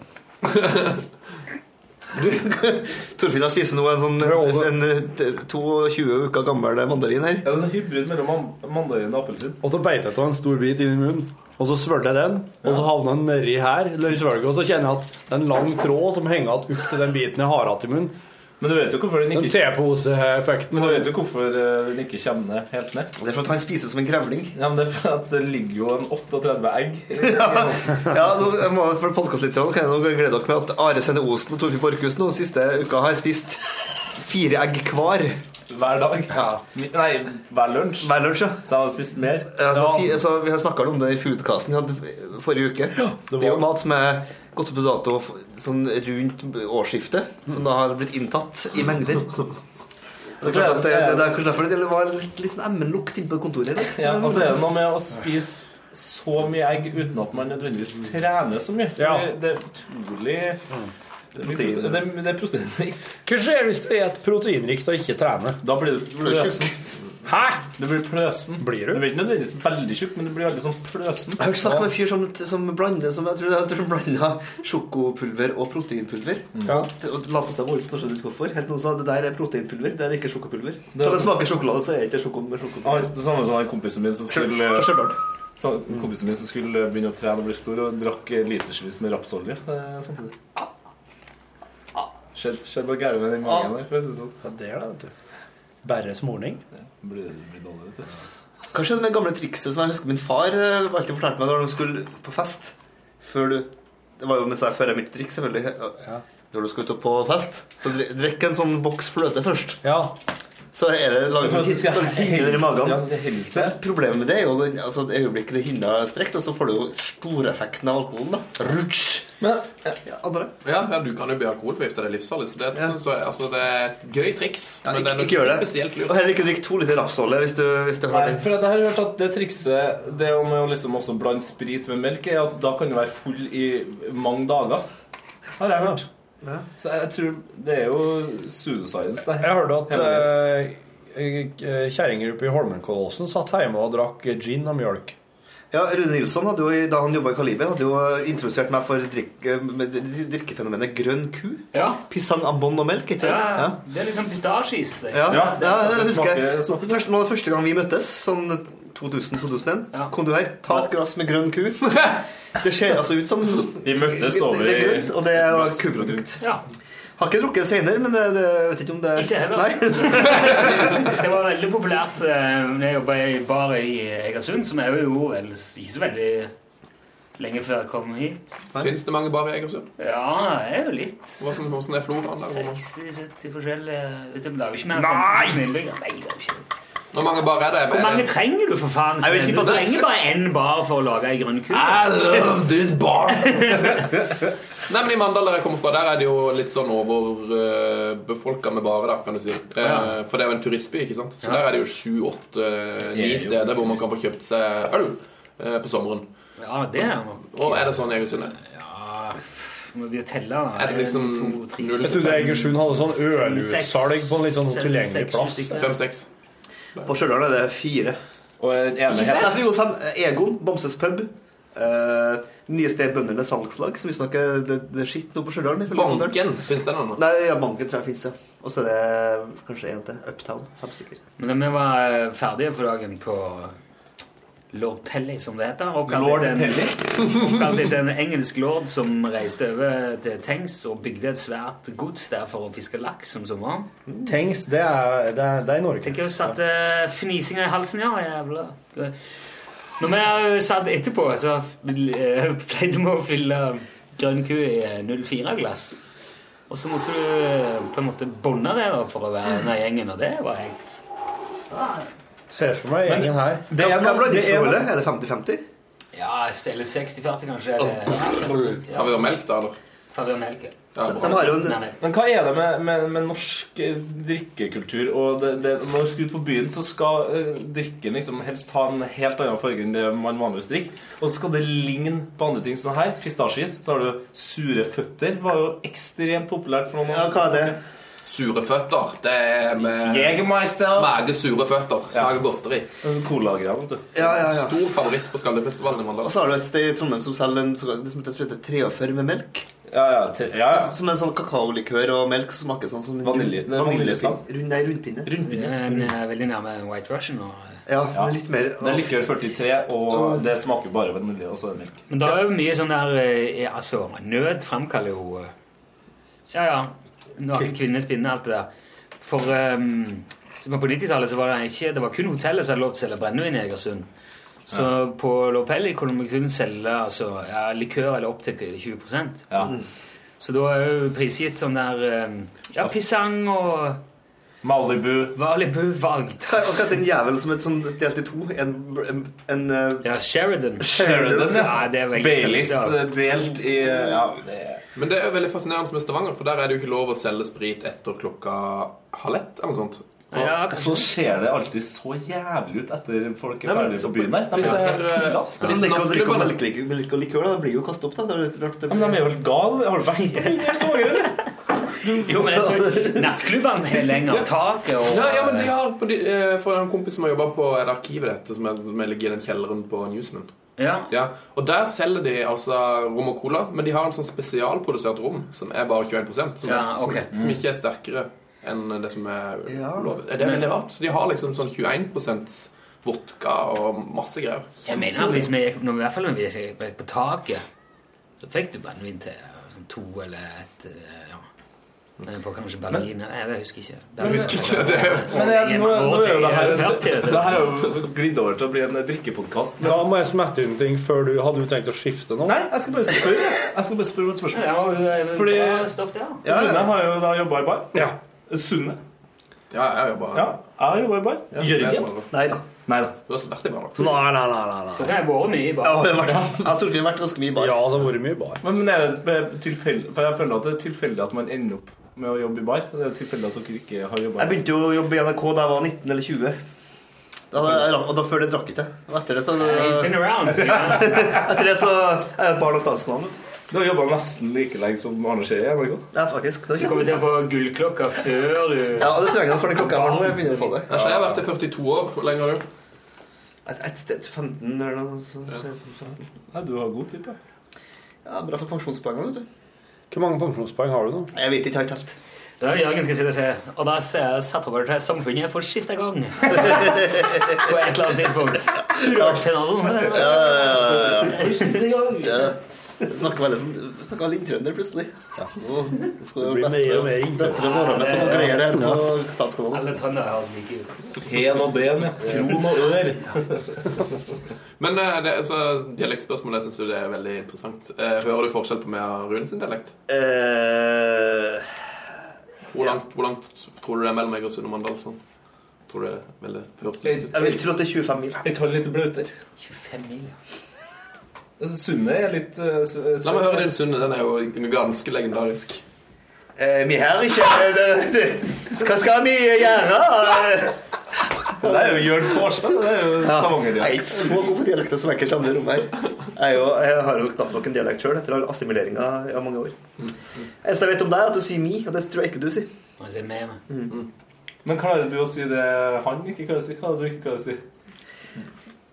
Speaker 14: Torfinn har spist nå en sånn en, eh, 22 uker gammel mandarin her.
Speaker 12: Ja, det er en hybrid mellom man- mandarin og appelsin.
Speaker 8: Og så beit jeg av en stor bit inn i munnen. Og så svølte jeg den, og så havna den nedi her. eller i svølget, Og så kjenner jeg at det er en lang tråd som henger igjen opp til den biten jeg har hatt i munnen.
Speaker 12: Men du vet jo hvorfor den ikke
Speaker 8: teposeeffekten.
Speaker 12: Men du vet jo hvorfor eh, den ikke kommer ned helt ned?
Speaker 14: Det er for at han spiser som en grevling.
Speaker 12: Ja, men det er for at det ligger jo en 38 egg i-
Speaker 14: Ja, ja nå, jeg må, for podcastlytterne kan jeg nå glede dere med at Are Sende Osen og Torfinn Borchhus nå siste uka har spist fire egg hver.
Speaker 12: hver dag. Nei, hver lunsj.
Speaker 14: Hver lunsj, ja.
Speaker 12: Så han har spist mer.
Speaker 14: Ja, så, fi, så Vi har snakka om det i Foodcasten vi hadde forrige uke. det, er jo mat som er gått ut på dato f- sånn rundt årsskiftet, som da har blitt inntatt i mengder. Det er, klart at det, det, det er kanskje derfor det var litt, litt sånn emmenlukt inne på kontoret. i dag.
Speaker 12: Ja, og så er det noe med å spise så mye egg uten at man nødvendigvis trener så mye. For
Speaker 8: Ja.
Speaker 12: det- det er utrolig det er mye
Speaker 8: Protein.
Speaker 12: protein- Det, er- det er proteinrikt.
Speaker 8: Hva skjer hvis du spiser proteinrikt og ikke trener?
Speaker 12: Da blir du pløsen.
Speaker 8: Hæ?
Speaker 12: Du blir pløsen.
Speaker 8: Blir du?
Speaker 12: du blir ikke nødvendigvis veldig tjukk, men du blir veldig sånn pløsen.
Speaker 14: Jeg har hørt snakk om en fyr som, som blander som jeg tror det er, som blander sjokopulver og proteinpulver.
Speaker 12: Ja.
Speaker 14: Og la på seg voldsomt og skjønner ikke hvorfor. Helt noen sa det der er proteinpulver, det er ikke sjokopulver.
Speaker 12: Det-
Speaker 14: Så det smaker sjokolade, så er det ikke sjoko med sjokopulver.
Speaker 12: Han- Det samme som han kompisen min som skulle
Speaker 14: Fra Stjørdal.
Speaker 12: Sa- Kompisen min som skulle begynne å trene og bli stor, og drakk eh, litersvis med rapsolje eh, samtidig. Skjedd skjedd noe gærent med den magen der. for å si det sånn.
Speaker 8: Ja, det er det, vet du. Bare smorning.
Speaker 12: Blir, blir dårlig, vet du.
Speaker 14: Hva skjedde med det gamle trikset som jeg husker min far eh, alltid fortalte meg når de skulle på fest? Før du Det var jo med seg før jeg mitt drikk, selvfølgelig. Ja. Når du skal ut og på fest, så dri- drikk en sånn boks fløte først. Så er det laget
Speaker 12: For at
Speaker 14: sånn
Speaker 12: du skal
Speaker 14: hin- hinner i
Speaker 12: helse-
Speaker 14: magen.
Speaker 12: ja, du skal helse.
Speaker 14: Men Problemet med det er jo den- altså, det øyeblikket det hinna sprekker, og så får du jo storeffekten av alkoholen. da Rutsj! ja, andre.
Speaker 13: Ja, ja, du kan jo bli alkoholforgifta. Det er livsfarlig. Så det, er et-
Speaker 14: Ja.
Speaker 13: så, altså, det er et gøy triks.
Speaker 14: Ja,
Speaker 13: men det
Speaker 14: ikke,
Speaker 13: er nok
Speaker 14: ikke gjør det.
Speaker 13: spesielt lurt.
Speaker 14: Og heller ikke drikk to liter rapsolje hvis du, hvis du har
Speaker 12: Nei, for at jeg har hørt at det trikset Det om å liksom også blande sprit med melk, er at da kan du være full i mange dager. Har jeg hørt. Så jeg tror Det er jo pseudoscience, det.
Speaker 8: Jeg hørte at eh, kjerringer oppe i Holmenkollåsen satt hjemme og drakk gin og mjølk.
Speaker 14: Ja, Rune Nilsson hadde jo, i- da han jobba i Kaliber, hadde jo eh, introdusert meg for drikk, eh, med drikkefenomenet grønn ku.
Speaker 2: Ja.
Speaker 14: Pisang ambon og melk, ikke det?
Speaker 2: Ja,
Speaker 14: Ja.
Speaker 2: det er liksom pistasjeis. det.
Speaker 14: Ja, ja, jeg
Speaker 2: det
Speaker 14: husker jeg. Første, noe av det første gang vi møttes, sånn 2000-2001. Kom du her, ta et glass med grønn ku. Det ser altså ut som
Speaker 12: Vi møttes over
Speaker 14: Det er grønt, og det er
Speaker 12: et glass
Speaker 14: kuprodukt.
Speaker 15: Ja.
Speaker 14: Har ikke drukket senere, men det, det, jeg vet ikke om det
Speaker 15: Ikke heller. det var veldig populært eh, når jeg jobba i bar i Egersund, som jeg jo gjorde vel ikke så veldig lenge før jeg kom hit.
Speaker 13: Fins det mange bar i Egersund?
Speaker 15: Ja, det er jo litt.
Speaker 13: Hvordan, hvordan er floraen der?
Speaker 15: 60-70 forskjellige vet du, men Det er jo ikke mer enn
Speaker 13: Nei!
Speaker 15: 15 innbyggere. Nei, det er jo ikke det.
Speaker 13: Hvor mange bar er det?
Speaker 15: Hvor mange trenger du, for faen?
Speaker 13: Jeg vet ikke
Speaker 15: Du
Speaker 13: hva det er.
Speaker 15: trenger bare én bar for å lage ei grønn ku.
Speaker 13: I love this bar! Nei, men I Mandal, der jeg kommer fra, der er det jo litt sånn overbefolka med barer. da, kan du si. Eh,
Speaker 12: Ja.
Speaker 13: For det er jo en turistby, ikke sant? Så
Speaker 12: Ja.
Speaker 13: der er det jo sju, åtte,
Speaker 12: Det er
Speaker 13: ni
Speaker 12: jo
Speaker 13: steder hvor man
Speaker 12: turist.
Speaker 13: kan få kjøpt seg øl eh, på sommeren.
Speaker 2: Ja, det er nok-
Speaker 13: Og er det sånn i Egersund er?
Speaker 2: Må vi telle?
Speaker 13: Er det
Speaker 2: En,
Speaker 13: liksom
Speaker 2: to, tre,
Speaker 13: null-
Speaker 2: fire,
Speaker 13: Jeg trodde Egersund
Speaker 3: hadde sånn
Speaker 2: fem, seks,
Speaker 3: ølutsalg på en litt sånn
Speaker 2: fem,
Speaker 3: tilgjengelig
Speaker 2: seks
Speaker 3: plass.
Speaker 2: stykker.
Speaker 13: seks.
Speaker 14: På Stjørdal er det fire.
Speaker 12: Og en
Speaker 14: Ikke fem, nei, jo, fem. Eh, Egon, Bamses pub. Eh, nye sted Bøndenes Salgslag, som visstnok er det, det er skitt nå på Stjørdal. ifølge Mandal.
Speaker 13: Banken, fins det noen?
Speaker 14: Nei, ja, Banken tror jeg fins, ja. Og så er det kanskje en til. Uptown. Fem stykker.
Speaker 2: Men da vi var eh, ferdige for dagen på Lord Pelly, som det heter oppkalt
Speaker 12: Lord
Speaker 2: etter en-
Speaker 12: Pelly?
Speaker 2: Oppkalt etter en engelsk lord som reiste over til Tengs og bygde et svært gods der for å fiske laks om sommeren.
Speaker 8: Tengs, det er, det er, det er i Norge.
Speaker 2: Tenker jeg satte fnisinga i halsen, ja. Jævla. Når vi satt etterpå, så eh, pleide vi å fylle grønn ku i eh, 04-glass. Og så måtte du eh, på en måte bånde det da, for å være en av gjengen, og det var jeg.
Speaker 8: Ser for meg gjengen her.
Speaker 14: Det er Hva ble ditt
Speaker 2: det er
Speaker 14: forhold?
Speaker 2: noe-
Speaker 14: Er det 50-50?
Speaker 2: Ja, eller 60-40, kanskje. Eller, ja.
Speaker 13: Har vi jo melk, da? eller?
Speaker 2: Favørmelk. ja.
Speaker 12: Men hva er det med, med, med norsk eh, drikkekultur? Og det, det, når du skal ut på byen, så skal eh, drikken liksom helst ha en helt annen farge enn det man vanligvis drikker. Og så skal det ligne på andre ting. Sånn her, pistasjeis. Så har du sure føtter. Var jo ekstremt populært for noen år
Speaker 14: Ja, hva er det?
Speaker 13: Sure føtter. Det er med
Speaker 12: Jägermeister.
Speaker 13: Smaker sure føtter. Smaker godteri.
Speaker 12: Cola-greier, vet du.
Speaker 14: Ja, ja, ja.
Speaker 13: Stor favoritt på Skaldefestivalen i Mandal.
Speaker 14: Og så har du et sted i Trondheim som selger en såkalt- det som heter- heter 43 med melk. Som- Som en sånn kakaolikør og melk som smaker sånn som en
Speaker 12: Vanilje- nei,
Speaker 14: vaniljepi-
Speaker 12: vaniljestang.
Speaker 14: Rund, nei, rundpinne.
Speaker 2: Men eh, veldig nærme White Russian. Og, eh,
Speaker 14: Ja, men litt mer
Speaker 12: Det er likør 43, og det smaker bare vanilje, og så er det melk.
Speaker 2: Men det er jo mye sånn der eh, Altså, nød fremkaller jo eh, Ja, ja. Naken kvinne, spinne, alt det der. For ehm, så på 90-tallet så var det ikke Det var kun hotellet som hadde lov til å selge brennevin i Egersund. Så på Lopelli kunne man kun selge altså, ja, likør eller opptil 20
Speaker 12: Mm.
Speaker 2: Så da er jo prisgitt sånn der ehm, Ja, pisang og
Speaker 12: Malibu.
Speaker 2: Malibu valgt.
Speaker 14: Hva hva heter den jævelen som er sånn delt i to? En, en, en eh,
Speaker 2: Ja, Sheridan.
Speaker 12: Sheridan, ja.
Speaker 2: Ja, det er veldig-
Speaker 12: Baileys
Speaker 2: Ja.
Speaker 12: eh, delt i Ja, det
Speaker 13: Men det er jo veldig fascinerende med Stavanger, for der er det jo ikke lov å selge sprit etter klokka halv ett. eller noe sånt. Og-
Speaker 12: og så ser det alltid så jævlig ut etter folk er
Speaker 13: Nei, men
Speaker 12: ferdig på
Speaker 13: så-
Speaker 12: byen der. De
Speaker 13: disse
Speaker 12: er
Speaker 13: her,
Speaker 12: helt
Speaker 13: eh,
Speaker 12: tillatt.
Speaker 13: Men disse
Speaker 14: melk og drikk og
Speaker 13: nattklubbene-
Speaker 14: melk, melk, melk og likør, da, det blir jo kastet opp, da. Det er litt rart. det
Speaker 12: Ja, men
Speaker 14: blir-
Speaker 12: de er jo helt gale. Har du vært på byen? Jeg så jo det.
Speaker 2: Jo, men jeg tror nattklubbene har lenger tak. Og,
Speaker 13: Nei, ja, men de har på de, eh, For en kompis som har jobba på et arkiv dette, som, er, som ligger i den kjelleren på Newsman.
Speaker 2: Ja.
Speaker 13: Og der selger de altså rom og cola, men de har en sånn spesialprodusert rom som er bare 21 som,
Speaker 2: sånn. Ja, ok.
Speaker 13: som,
Speaker 8: Mm.
Speaker 13: som ikke er sterkere enn det som er
Speaker 2: Ja.
Speaker 13: lov. Det er veldig rart. Så de har liksom sånn 21 vodka og masse greier.
Speaker 2: Jeg mener at hvis vi gikk, når vi, i hvert fall når vi gikk på taket, så fikk du brennevin til ja, sånn to eller et eh, ja. Eh, På kanskje Berlin Nei, Jeg husker ikke.
Speaker 12: Men,
Speaker 2: Berlin-
Speaker 12: men jeg, nå, nå er jo det her
Speaker 2: Jeg er ferdig, eh, det.
Speaker 12: Det her er jo glidd over til å bli en drikkepodkast.
Speaker 8: Da må jeg smette inn ting før du Hadde du tenkt å skifte nå?
Speaker 12: Nei, jeg skal bare spørre. Jeg skal bare spørre et spørsmål.
Speaker 8: Ja,
Speaker 2: eh,
Speaker 8: det var- det var
Speaker 12: Fordi
Speaker 8: bra stoff, det, ja.
Speaker 12: Rune har jo da jobba i bar. Sunne.
Speaker 13: Ja, jeg har jobba
Speaker 12: ja, jeg har jobbet i bar. Jørgen.
Speaker 14: Nei da.
Speaker 12: Nei da.
Speaker 13: Du har også vært i bar, da.
Speaker 8: Nei, nei, nei. nei, nei.
Speaker 2: Torfinn har vært mye i bar.
Speaker 14: Ja, jeg har vært- jeg har Torfinn vært ganske mye i bar.
Speaker 8: Ja, altså, vært mye i bar.
Speaker 12: Men, men er det tilfeldig For jeg føler at det er tilfeldig at man ender opp med å jobbe i bar. Det er tilfeldig at dere ikke har jobba
Speaker 14: Jeg begynte jo å jobbe i NRK da jeg var 19 eller 20. Da, og da før det drakk jeg ikke. Og etter det så
Speaker 12: He's been around,
Speaker 14: Etter det så er jeg et barn av statsmannen. vet du.
Speaker 12: Du har jobba nesten like lenge som Arne Skei i NRK.
Speaker 14: Ja, faktisk. Det var
Speaker 2: Du kommer til å få gullklokka før du
Speaker 14: Ja, og det trenger jeg for den klokka her nå. Jeg begynner å få det.
Speaker 13: Jeg har vært i 42 år. Hvor lenge har du?
Speaker 14: Et, et sted 15 eller noe sånt.
Speaker 12: Nei, du har god tid på
Speaker 14: Ja, bra for pensjonspoengene, vet du.
Speaker 8: Hvor mange pensjonspoeng har du nå?
Speaker 14: Jeg vet ikke helt helt.
Speaker 2: Da er Jørgen skal sitte og se. Og da ser jeg satt over til Samfunnet for siste gang. På et eller annet tidspunkt. Rart finalen.
Speaker 14: Ja, ja, ja. Siste gang. Ja. Snakker veldig sånn Snakker veldig trønder plutselig. Ja.
Speaker 8: Det blir mer og mer inntrønder.
Speaker 14: Bedre morgen på noen greier der på statskanalen.
Speaker 2: Alle trøndere høres like altså, ut.
Speaker 12: Hen og ben, ja. Kron og ør.
Speaker 13: Men eh, det, altså, dialektspørsmålet syns du det er veldig interessant. Eh, Hører du forskjell på meg og Rune sin dialekt?
Speaker 14: Eh,
Speaker 13: Hvor langt, hvor langt tror du det er mellom meg og Sunne Mandal? Sånn? Tror du det er veldig høres likt ut?
Speaker 14: Jeg vil tro at det er 25 mil.
Speaker 12: Jeg tar litt bløter.
Speaker 2: 25 mil,
Speaker 12: Sunne er litt eh, s- s-
Speaker 13: La meg høre din Sunne. Den er jo ganske legendarisk.
Speaker 14: Eh, vi her ikke det, det, Hva skal vi gjøre? Det er jo Jørn Kårstad. Det er jo
Speaker 12: Stavanger-dialekt.
Speaker 14: Jeg er ikke så god på dialekter som enkelte andre i rommet her. Jeg, er jo, jeg har jo knapt nok en dialekt sjøl etter assimileringa i mange år. Eneste jeg vet om deg, er at du sier mi, og det tror jeg ikke du sier.
Speaker 2: Jeg sier meg,
Speaker 14: Mm.
Speaker 2: meg.
Speaker 12: Men klarer du å si det han ikke klarer å si? Hva er det du ikke klarer å si?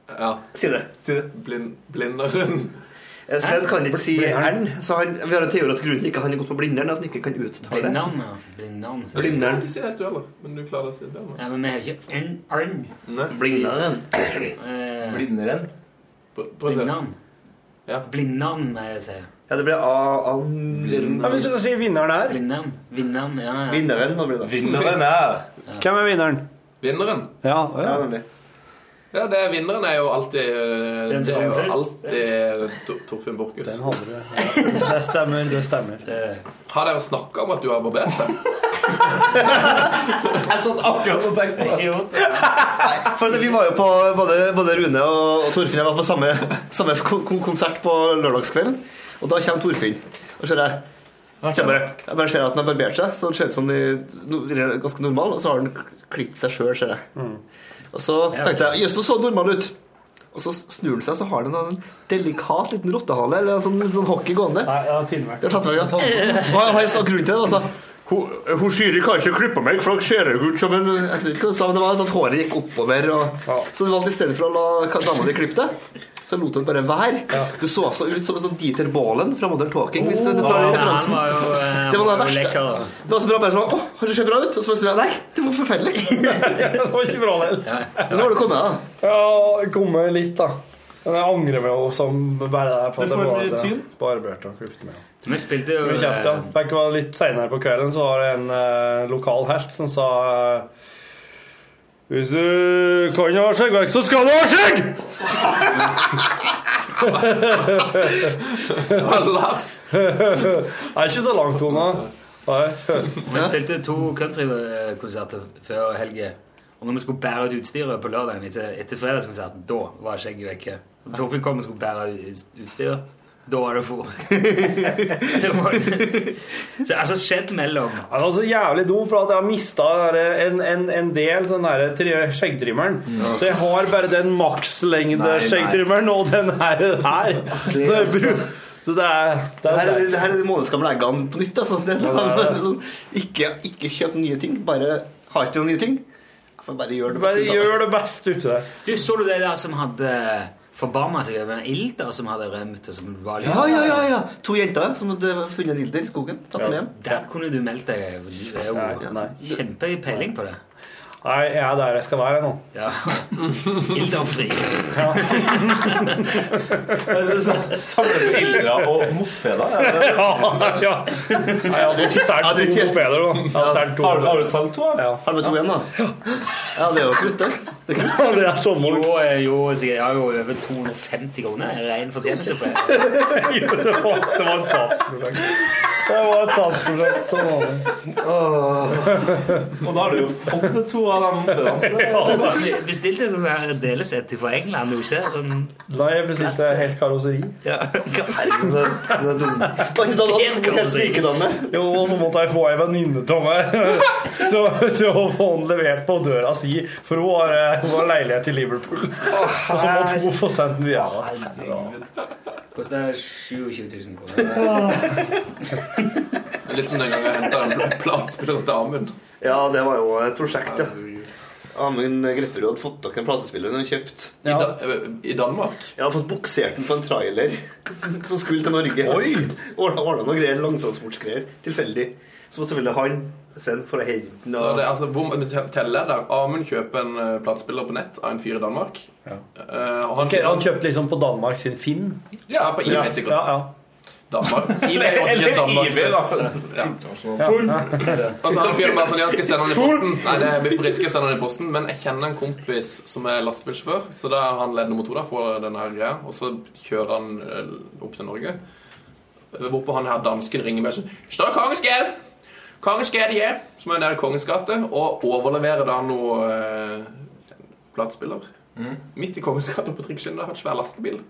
Speaker 13: Ja.
Speaker 14: Si det.
Speaker 13: Si det. Blind, blinderen.
Speaker 14: Eh, Sven kan ikke si ern, så han, vi har en teori at grunnen til ikke han er gått på blinderen, er at han ikke kan uttale det.
Speaker 2: Blindern, ja. Blindern. sier jeg.
Speaker 14: Blindern.
Speaker 13: Ikke si helt du heller, men du klarer å si det.
Speaker 2: Ja, men vi har ikke en arm.
Speaker 14: Blindern.
Speaker 12: Blinderen.
Speaker 2: Blindern. Blindern, må jeg si.
Speaker 14: Ja, det blir a-an...
Speaker 8: Ja, hvis du skal si vinneren her
Speaker 2: Blindern. Vinneren, ja, ja.
Speaker 14: Vinneren må bli det.
Speaker 12: Vinneren er
Speaker 8: Hvem er vinneren?
Speaker 13: Vinneren.
Speaker 8: Ja, ja.
Speaker 13: Ja, det, vinneren er jo alltid eh,
Speaker 8: Den
Speaker 13: Det
Speaker 8: som
Speaker 13: er jo
Speaker 8: kom først.
Speaker 13: alltid eh, Tor- Torfinn Borchhus.
Speaker 8: Det stemmer, det stemmer.
Speaker 13: Har dere snakka om at du har barbert deg?
Speaker 12: Jeg satt akkurat og tenkte
Speaker 2: på
Speaker 12: det.
Speaker 14: For at Altså, vi var jo på Både, både Rune og, og Torfinn jeg var på samme, samme kon- kon- konsert på lørdagskvelden. Og da kommer Torfinn. Og ser jeg kommer jeg. Jeg bare ser at han har barbert seg, så det ser ut som de- no- de er ganske normal, og så har han k- klippet seg sjøl, ser jeg.
Speaker 2: Mm.
Speaker 14: Og så tenkte jeg Jøss, nå så han normal ut. Og så snur han seg, så har han en, en delikat liten rottehale eller en sånn, en sånn hockey gående. Nei,
Speaker 8: jeg har tilvært.
Speaker 14: Jeg har tatt meg, ja. Og han- han sa grunnen til det, altså. Hun, hun sier de kan ikke klippe meg, for dere ser jo ut som en Jeg vet ikke hva hun sa, men det var at sånn håret gikk oppover. Og, Så du valgte i stedet for å la ka- dama di klippe det, så lot hun bare være. Du så altså ut som en sånn Dieter Baalen fra Modern Talking, hvis du
Speaker 2: Oh,
Speaker 14: tar den
Speaker 2: ja,
Speaker 14: referansen.
Speaker 2: han var jo, eh,
Speaker 14: det var
Speaker 2: han
Speaker 14: det
Speaker 2: var jo
Speaker 14: verste.
Speaker 2: lekker, da.
Speaker 14: det var så bra, bare sånn Å, har det sett bra ut? Og så bare sånn Nei, det var forferdelig.
Speaker 8: det var ikke bra, det.
Speaker 14: Nå har du kommet, da.
Speaker 8: Ja, kommet litt, da. Men jeg angrer meg jo som bare det her på
Speaker 2: Du får bli
Speaker 8: at jeg
Speaker 2: tynn.
Speaker 8: barberte og klippet meg.
Speaker 2: Vi spilte jo
Speaker 8: Mye kjeft, ja.
Speaker 2: eh,
Speaker 8: Fikk være litt senere på kvelden, så var det en eh, lokal helt som sa eh, Hvis du kan ha skjeggvekst, så skal du ha skjegg!
Speaker 13: Lars.
Speaker 8: Det er ikke så langt, Tone.
Speaker 2: Vi spilte to countrykonserter før helga. Og når vi skulle bære ut utstyret på lørdagen etter, etter fredagskonserten, da var skjegget vekke. Og Torfinn kom og skulle bære ut utstyret. Da var det for. det var Så altså skjedd mellom
Speaker 8: Han var så jævlig dum for at jeg har mista en, en, en del av den der tri- skjeggtrimmeren. Så jeg har bare den makslengde
Speaker 14: Nei, nei.
Speaker 8: skjeggtrimmeren og den her. her. Så, jeg bru- så det er, det
Speaker 14: Det
Speaker 8: er
Speaker 14: her, er- det her er de månedsgamle eggene på nytt. Altså. Det, er
Speaker 8: Ja, det er det.
Speaker 14: sånn, ikke, ikke kjøp nye ting. Bare har ikke noen nye ting. Jeg får bare gjøre det
Speaker 8: Bare
Speaker 14: beste ut av det.
Speaker 8: gjør det beste ut av det.
Speaker 2: Du, så du det der som hadde forbarma seg over en ilter som hadde rømt? Og som var litt-
Speaker 14: Ja, ja, ja, ja. To jenter som hadde funnet en ilder i skogen. Tatt den med hjem.
Speaker 2: Der kunne du meldt deg. Du er jo kjempepeiling på det.
Speaker 8: Nei, jeg er der jeg skal være nå.
Speaker 2: Ja. Ilderfri.
Speaker 12: Samler du ildra og mopeder? er det-
Speaker 8: Ja, ja. Nei, jeg hadde solgt to mopeder, da. Jeg hadde solgt to.
Speaker 12: Har har du solgt to? da?
Speaker 14: Har du med to igjen, da? Ja, det er jo krutt, det. Det er
Speaker 8: krutt. Det er sommer.
Speaker 2: Jo, eh, jo, så jeg har jo over 250 kroner i ren fortjeneste på det.
Speaker 8: Jo, det var, det var et tapsprosjekt. Det var et tapsprosjekt. Sånn var det.
Speaker 12: Og da har du jo fått det to av de mopedene.
Speaker 13: altså.
Speaker 12: så det-
Speaker 2: Vi Bestilte sånn der delesett fra England, jo ikke? Sånn
Speaker 8: Nei, jeg bestilte helt karosseri.
Speaker 2: ja.
Speaker 14: Det er dumt. Kan ikke ta noe helt likedanne?
Speaker 8: Jo, og så måtte jeg få ei venninne av meg til å- til å få den levert på døra si, for hun har, eh, hun har leilighet i Liverpool. Og så måtte hun få sendt den via
Speaker 2: Kosta 27 000 kroner.
Speaker 13: Litt som den gangen jeg henta en platespiller til Amund.
Speaker 14: Ja, det var jo et prosjekt, ja. Amund Grepperud hadde fått tak i en platespiller hun hadde kjøpt.
Speaker 13: I, da, I Danmark?
Speaker 14: Jeg hadde fått buksert den på en trailer som skulle til Norge. Ordna ordna noen greier, langtransportgreier. Tilfeldig. Så må selvfølgelig han Sven for å hente den.
Speaker 13: Så
Speaker 14: og-
Speaker 13: det er altså bom, telleder. Amund kjøper en eh, platespiller på nett av en fyr i Danmark. Eh, og han,
Speaker 8: Ok, han kjøpte liksom på Danmark sin Finn.
Speaker 13: Ja, på eBay sikkert.
Speaker 8: Ja, ja.
Speaker 13: Danmark. eBay er også ikke
Speaker 8: Eller
Speaker 13: Danmark.
Speaker 8: eBay, da.
Speaker 13: Ja.
Speaker 8: Full.
Speaker 13: Og så han fyren bare sånn, ja, skal jeg sende den i posten. Nei, det er Biff Riske jeg sender den i posten. Men jeg kjenner en kompis som er lastebilsjåfør, så da er han ledd nummer to da for denne her greia. Og så kjører han eh, opp til Norge. Hvorpå han her dansken ringer meg sånn Står Kongens Gate! Kongens Gate, ja! Som er nede i Kongens gate. Og overleverer da noe eh, platespiller. Midt i Kongens gate på trikkeskinnet. Har en svær lastebil.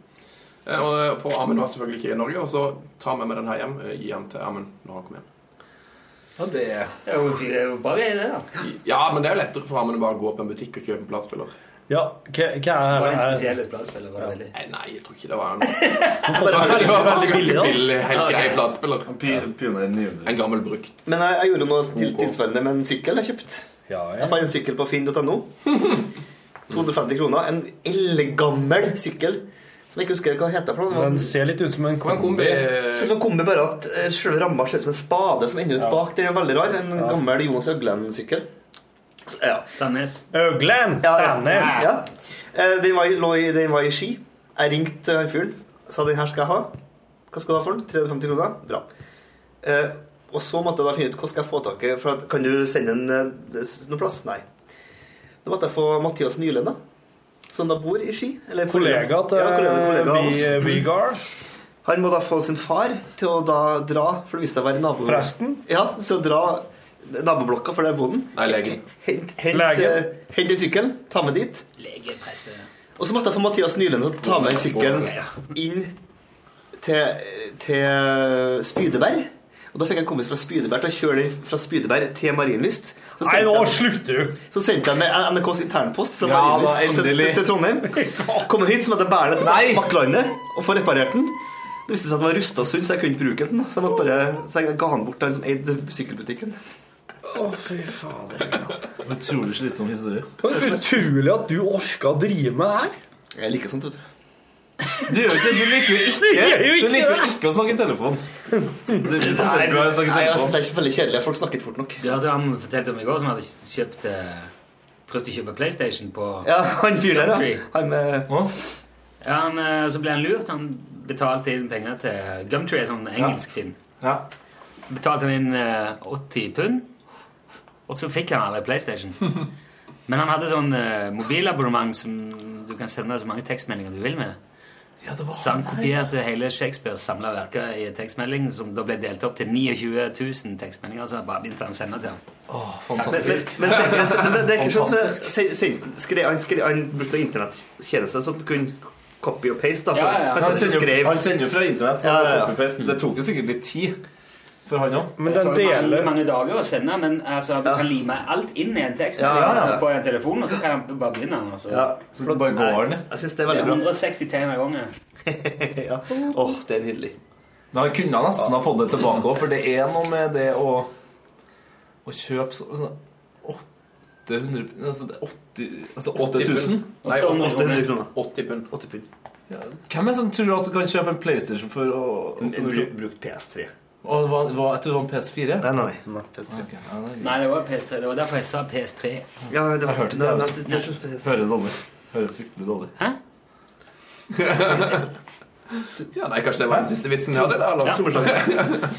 Speaker 13: Eh, Og for Amund var selvfølgelig ikke i Norge, og så tar vi med den her hjem. eh, Gi den til Amund når han kommer hjem.
Speaker 12: Ja, det er
Speaker 15: jo, det er jo bare det, da.
Speaker 13: Ja, men det er jo lettere for Amund å bare gå på en butikk og kjøpe en platespiller.
Speaker 8: Ja, hva, hva er
Speaker 15: Var det en spesiell platespiller? Var det veldig?
Speaker 13: Nei, nei, jeg tror ikke det var noe.
Speaker 14: var
Speaker 13: det var
Speaker 14: veldig-
Speaker 13: veldig
Speaker 14: veldig billig,
Speaker 13: ganske
Speaker 14: da.
Speaker 13: billig, helt
Speaker 14: Ja,
Speaker 13: grei
Speaker 14: ok.
Speaker 13: platespiller. En gammel bruk.
Speaker 14: Men jeg, jeg gjorde noe til, tilsvarende med en sykkel jeg kjøpt. Jeg fant en sykkel på finn.no. 250 kroner. En eldgammel sykkel som jeg ikke husker hva heter. for noe.
Speaker 8: Den ser litt ut som en
Speaker 14: Sånn
Speaker 8: kombi.
Speaker 14: som en kombi, bare at eh, selve ramma ser ut som en spade som ender ut
Speaker 8: Ja.
Speaker 14: bak. Den er veldig rar. En
Speaker 8: Ja.
Speaker 14: gammel Jonas Øgland-sykkel. Så, Ja.
Speaker 15: Sandnes.
Speaker 8: Øglen!
Speaker 14: Ja, ja.
Speaker 8: Sandnes!
Speaker 14: Ja. Eh, Den, var i, lå i, den var i ski. Jeg ringte han fyren. Sa den her skal jeg ha. Hva skal du ha for den? 350 kroner? Bra. Eh, og så måtte jeg da finne ut hvor skal jeg få tak i for at, Kan du sende den eh, des- noen plass? Nei. Da måtte jeg få Mathias Nylund, da. Som da bor i Ski. Eller
Speaker 8: Kollega til eh,
Speaker 14: ja, kollega, kollega av
Speaker 8: Be-
Speaker 14: oss.
Speaker 8: Begard.
Speaker 14: Han må da få sin far til å da dra, for det viste seg å være nabo...
Speaker 8: Presten?
Speaker 14: Ja, til å dra naboblokka for der bonden.
Speaker 13: Nei, legen.
Speaker 14: Hent, hent,
Speaker 8: Legen.
Speaker 14: eh, hent en sykkel, ta med dit. Og så måtte jeg få Mathias Nylund til å ta med den sykkelen inn til, til Spydeberg. Og da fikk jeg en kompis fra Spydeberg til å kjøre den fra Spydeberg til Marienlyst. Så
Speaker 8: Nei, nå
Speaker 14: sendte jeg-
Speaker 8: slutter du!
Speaker 14: så sendte jeg med NRKs internpost fra
Speaker 8: Ja, da,
Speaker 14: Marienlyst og til,
Speaker 8: endelig.
Speaker 14: til Trondheim. Kommer hit som at jeg bærer det til Bakklandet og får reparert den. Det viste seg at den var rusta sund, så jeg kunne ikke bruke den. Så jeg, måtte bare, så jeg ga han bort til han som eide sykkelbutikken.
Speaker 8: Å, fy fader.
Speaker 12: Utrolig slitsom historie.
Speaker 8: Utrolig at du orka å drive med det her.
Speaker 14: Jeg liker sånt, vet du.
Speaker 12: Du gjør jo ikke, du liker jo
Speaker 8: Du gjør jo
Speaker 12: ikke Du
Speaker 8: ikke
Speaker 12: liker jo
Speaker 8: det.
Speaker 12: ikke å snakke i telefon.
Speaker 14: Nei,
Speaker 12: ikke
Speaker 14: det-
Speaker 12: så sent du har snakket
Speaker 14: nei, jeg
Speaker 12: etterpå.
Speaker 14: synes det er ikke veldig kjedelig. Folk snakker ikke fort nok.
Speaker 15: Du hørte jo han fortalte om i går som hadde kjøpt eh, prøvd å kjøpe PlayStation på
Speaker 14: Ja, han fyren der,
Speaker 15: Gumtree.
Speaker 14: ja. Han eh, med
Speaker 15: Ja, han, eh, så ble han lurt. Han betalte inn penger til Gumtree, en sånn engelsk finn. Så betalte han inn eh, 80 pund, og så fikk han aldri PlayStation. Men han hadde sånn eh, mobilabonnement som du kan sende så mange tekstmeldinger du vil med. så han kopierte hele Shakespeares samla verker i en tekstmelding, som da ble delt opp til 29 000 tekstmeldinger. Så bare begynte han å sende til ham.
Speaker 14: fantastisk. Men, men, men, men, men, det- det er ikke sånn at se- se- skre- han, skre- han brukte internettjeneste, så du kunne copy og paste. Da. Så, Han,
Speaker 12: Han,
Speaker 14: satt og
Speaker 12: sender jo,
Speaker 14: sånn skrev
Speaker 12: han sender jo fra internett, så
Speaker 14: Ja, ja, ja.
Speaker 12: copy-paste. det tok jo sikkert litt tid for han òg.
Speaker 15: Det tar jo mange, mange dager å sende, men altså, du kan lime alt inn i en tekst
Speaker 12: Ja, ja, ja.
Speaker 15: på en telefon, og så kan han bare begynne. den, Altså.
Speaker 14: Ja,
Speaker 15: Så det bare
Speaker 14: Nei, altså-
Speaker 15: går den.
Speaker 14: Jeg synes det er veldig
Speaker 15: Det
Speaker 14: bra.
Speaker 15: er 160 tegn av gangen.
Speaker 14: ja. Åh, det er nydelig.
Speaker 12: Men han kunne nesten ha fått det tilbake òg, for det er noe med det å Å kjøpe så- sånn 800 Altså, det er 80, altså 8000?
Speaker 13: Nei, 800 kroner.
Speaker 14: 80 pund.
Speaker 12: Ja, Hvem er det som tror at du kan kjøpe en PlayStation for å altså,
Speaker 14: En bru- Brukt PS3.
Speaker 12: Å, det var, det var, jeg tror det var en PS4?
Speaker 14: Nei, nei. nei. PS3.
Speaker 15: Nei, det var PS3. Det var derfor jeg sa PS3.
Speaker 14: Ja, det var,
Speaker 12: Jeg hørte
Speaker 14: det,
Speaker 12: det.
Speaker 14: det, det, er så fest.
Speaker 12: Hører dårlig. Hører fryktelig dårlig.
Speaker 15: Hæ?
Speaker 13: Ja, nei, kanskje det var den siste vitsen jeg hadde? da, eller?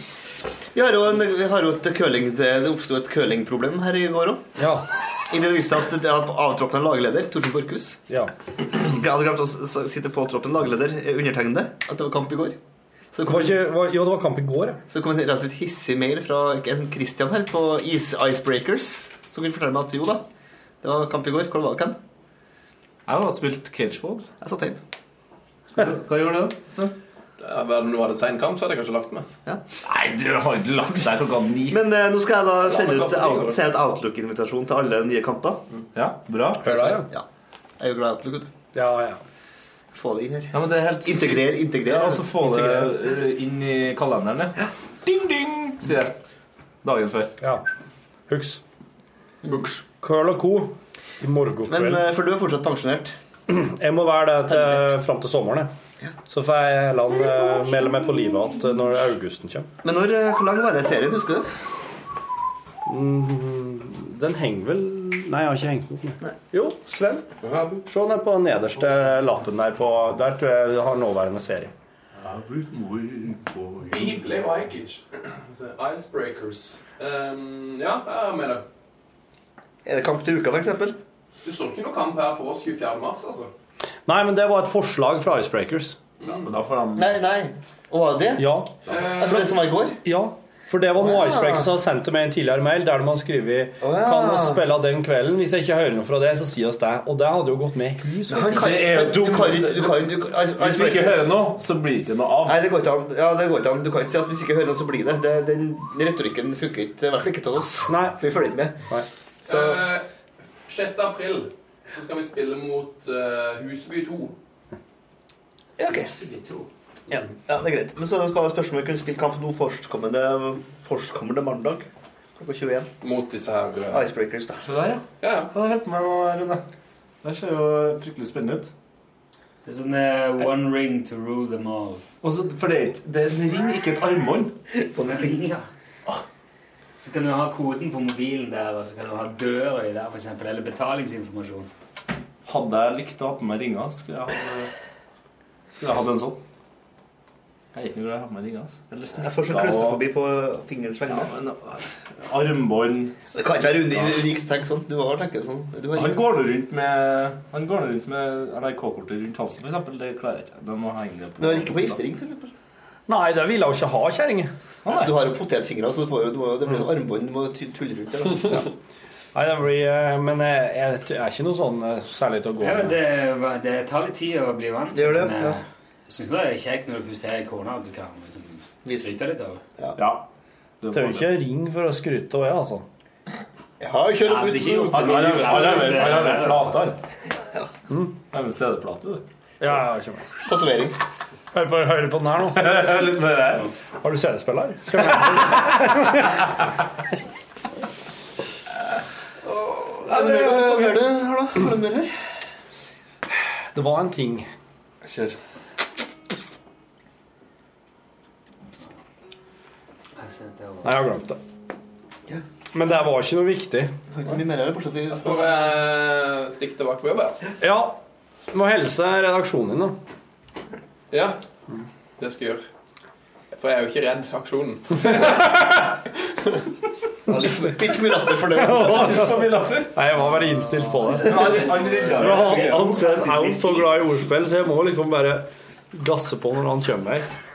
Speaker 14: Vi har jo, en, vi har jo et curling, det det oppsto et curlingproblem her i går òg.
Speaker 8: Ja.
Speaker 14: Idet det viste seg at det at avtroppende lagleder, Torfinn Borchhus
Speaker 8: Ja.
Speaker 14: Jeg hadde glemt å s- s- sitte på troppen lagleder, eh, undertegnede, at det var kamp i går. Så det
Speaker 8: Var
Speaker 14: kom,
Speaker 8: ikke, var, jo, det var kamp i går, ja.
Speaker 14: så det kom en relativt hissig mail fra en Christian her på Is Icebreakers, som kunne fortelle meg at jo da, det var kamp i går. Hvor var dere?
Speaker 12: Jeg har spilt cageball.
Speaker 14: Jeg satt hjemme.
Speaker 12: Hva gjorde du? Så?
Speaker 13: Ja, Om du hadde sein kamp, så hadde jeg kanskje lagt meg.
Speaker 12: Nei, du har ikke lagt deg klokka ni.
Speaker 14: Men eh, nå skal jeg da sende
Speaker 13: men
Speaker 14: ut,
Speaker 13: klart det
Speaker 14: out,
Speaker 13: går.
Speaker 14: sende ut Outlook-invitasjon til alle nye kamper.
Speaker 12: Ja, bra.
Speaker 14: ja. Jeg er jo glad i Outlook. vet du.
Speaker 8: Ja, ja.
Speaker 14: Få det inn her.
Speaker 12: Ja, men det er helt...
Speaker 14: Integrer, integrer.
Speaker 12: Ja, og så få det eh, inn i kalenderen, ja. Ding, ding, sier jeg. Dagen før.
Speaker 8: ja. Huks. Curl og co. i morgen
Speaker 14: Men
Speaker 8: kveld.
Speaker 14: eh, for du er fortsatt pensjonert.
Speaker 8: Jeg må være det til, fram til sommeren. Jeg. Så får jeg heller eh, melde meg på livet igjen når augusten kommer.
Speaker 14: Men når, eh, hvor lang var det serien, husker du?
Speaker 8: Mm, Den henger vel Nei, jeg har ikke hengt den opp. nei. Jo, Sven. Se den på nederste lappen der. På, der tror jeg det har nåværende serie.
Speaker 13: Bibler var jeg ikke. Icebreakers. Um, ja, jeg er med det.
Speaker 14: Er det kamp til uka, f.eks.?
Speaker 13: Det står ikke noe kamp her for oss 24. mars, altså.
Speaker 8: Nei, men det var et forslag fra Icebreakers.
Speaker 14: Nei, nei. Var det
Speaker 8: Ja.
Speaker 14: Altså det som var i går?
Speaker 8: Ja. For det var noe
Speaker 14: Å, ja.
Speaker 8: Icebreakers har sendt til meg en tidligere mail, der de har skrevet
Speaker 14: ja.
Speaker 8: Kan vi spille den kvelden? Hvis jeg ikke hører noe fra det, så si oss det. Og det hadde jo gått med.
Speaker 14: Men kan- Det er jo du kan ikke- du kan- du kan- altså,
Speaker 12: Hvis vi ikke hører noe, så blir det ikke noe av.
Speaker 14: Nei, det går ikke an. Ja, det går ikke an. Du kan ikke si at hvis ikke hører noe, så blir det. det den retorikken funker ikke. I hvert fall ikke til oss. For vi følger ikke med. Så
Speaker 13: Eh, 6. april så skal vi spille mot eh, Huseby 2.
Speaker 14: Ja, ok. Ja, ja, det er greit. Men så er det bare spørsmålet om vi kunne spille kamp nå førstkommende, førstkommende mandag klokka 21.
Speaker 13: Mot disse her
Speaker 14: Icebreakers, da.
Speaker 12: Det der, ja.
Speaker 13: ja, ja.
Speaker 12: Kan du hjelpe meg nå, Rune? Det ser jo fryktelig spennende ut.
Speaker 15: Det er sånn eh, one ring to rule them all.
Speaker 12: Også, for det er ikke- det er en ring, ikke et armbånd.
Speaker 15: Ja. Så kan du ha koden på mobilen der, og så kan du ha døra i der, for eksempel, eller betalingsinformasjon.
Speaker 12: Hadde jeg likt å ha på meg ringer, skulle jeg ha Skulle jeg hatt en sånn. Jeg er ikke glad i å ha på meg altså. ringer. ass. Eller
Speaker 14: Jeg får sånn
Speaker 12: smykker og
Speaker 14: kløsterforbi på fingerens vegne.
Speaker 12: armbånd.
Speaker 14: det kan ikke være uni- unikt å tenke sånn. Du har tenkt sånn. Du har
Speaker 12: Han går nå rundt med Han går nå rundt med NRK-kortet rundt halsen, for eksempel. Det klarer jeg ikke. Det må henge det på.
Speaker 14: Men ikke på giftering, for eksempel.
Speaker 8: Nei, det ville hun ikke ha, kjerringe.
Speaker 14: Du har jo potetfingre, så du får jo, du må, det
Speaker 8: Mm.
Speaker 14: blir jo armbånd. Du må ty- tulle rundt der. da.
Speaker 8: Nei, det blir eh, Men jeg, jeg, jeg er ikke noe sånn eh, særlig til å gå
Speaker 15: Ja,
Speaker 8: med.
Speaker 15: det, var- det tar litt tid å bli vant.
Speaker 8: Det gjør det,
Speaker 15: men, eh,
Speaker 8: ja.
Speaker 15: Jeg syns det er kjekt når du først har ei kone, at du kan liksom, skryte litt av
Speaker 14: Ja.
Speaker 8: Det Tør ikke ringe for å skryte av det, altså.
Speaker 14: Jeg har
Speaker 12: jo kjørt ut- Han har- han har- han har vel plate, han. Det er en CD-plate, du.
Speaker 8: Ja, jeg har ikke med.
Speaker 14: Tatovering.
Speaker 8: Hør på, hør på den her nå. Har du CD-spiller?
Speaker 14: Hva er det mer- hva mer du har, da? Hva er det mer her?
Speaker 8: Det var en ting.
Speaker 14: Kjør.
Speaker 8: Nei, jeg har glemt det. Men det var ikke noe viktig.
Speaker 14: Har ikke mye mer her, bortsett fra
Speaker 13: Får jeg stikke tilbake på jobb, jeg?
Speaker 8: Ja, må helse redaksjonen din, da.
Speaker 13: Ja. Det skal jeg gjøre. For jeg er jo ikke redd aksjonen.
Speaker 14: Litt for latter for det.
Speaker 8: Så mye latter. Nei, jeg var bare innstilt på det.
Speaker 14: Han-
Speaker 8: Men
Speaker 14: han redda
Speaker 8: Han
Speaker 14: meg.
Speaker 8: han Sven er jo så glad i ordspill, så jeg må liksom bare gasse på når han kommer her.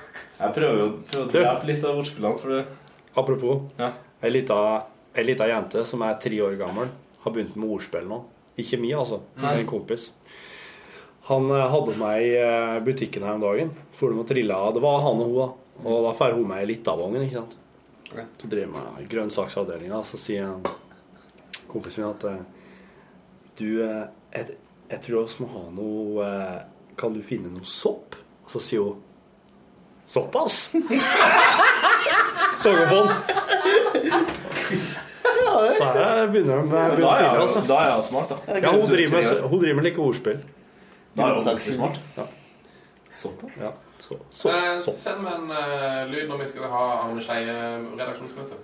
Speaker 12: Jeg prøver jo prøver å drepe litt av ordspillene. For det.
Speaker 8: Apropos. Ei lita, ei lita jente som er tre år gammel, har begynt med ordspill nå. Ikke mi, altså. men
Speaker 12: Nei.
Speaker 8: En kompis. Han eh, hadde meg i eh, butikken her om dagen. For de må trille av. Det var han og hun, da. Og da får hun meg i Litavågen, ikke sant. Så driver jeg med grønnsaksavdelinga, og så sier han kompisen min at eh, Du, eh, jeg, jeg tror vi må ha noe eh, Kan du finne noe sopp? Og så sier hun Såpass? Så går på den. Så her begynner de
Speaker 12: Men
Speaker 8: begynner
Speaker 12: da er jeg-
Speaker 8: tidlig, altså.
Speaker 12: da er jeg smart, da.
Speaker 8: Ja, hun driver med, hun driver med like ordspill.
Speaker 12: Da er jeg jo ordentlig smart.
Speaker 8: Ja.
Speaker 12: Såpass?
Speaker 8: Ja. Så,
Speaker 13: Eh, Send meg en eh, lyd når vi skal ha Arne Skeie-redaksjonsmøte.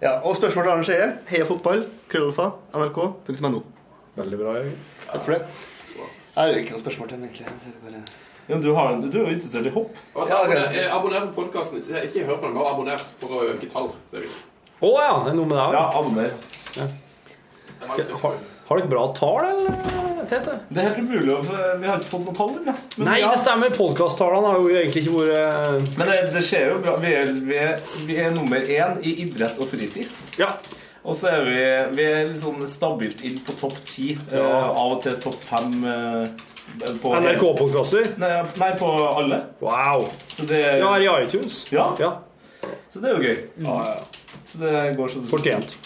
Speaker 14: Ja, og spørsmål til Arne Skeie. Heia fotball. Krøllalfa. NRK.no.
Speaker 8: Veldig bra, Jørgen.
Speaker 14: Takk for det. Jeg har jo ikke noe spørsmål til den, egentlig. Så det er bare...
Speaker 12: Ja, men du, har, du er jo interessert i hopp.
Speaker 13: Og så
Speaker 14: Ja,
Speaker 13: abonner,
Speaker 14: kanskje.
Speaker 13: eh, abonner på podkasten. Ikke hør på den, bare abonner for å øke tall. Det er viktig.
Speaker 8: Å ja, det er noe med det òg.
Speaker 12: Ja, abonner.
Speaker 8: Har, har du et bra tall, eller, Tete?
Speaker 12: Det er helt umulig å få- Vi har ikke fått noe tall ennå. Men
Speaker 8: Nei,
Speaker 12: ja.
Speaker 8: det stemmer. Podkast-tallene har jo egentlig ikke vært eh,
Speaker 12: Men det, det skjer jo bra. Vi er, vi, er, vi er nummer én i idrett og fritid.
Speaker 8: Ja.
Speaker 12: Og så er vi, vi er litt sånn stabilt inn på topp ti.
Speaker 8: Ja.
Speaker 12: eh, av og til topp fem. eh, på-
Speaker 8: NRK-podkaster?
Speaker 12: Nei, nei, på alle.
Speaker 8: Wow.
Speaker 12: Så det,
Speaker 8: Ja, Mm. her i iTunes.
Speaker 12: Ja. Så det er jo gøy.
Speaker 8: Ja, ja.
Speaker 12: Så det går så det
Speaker 8: Fortjent.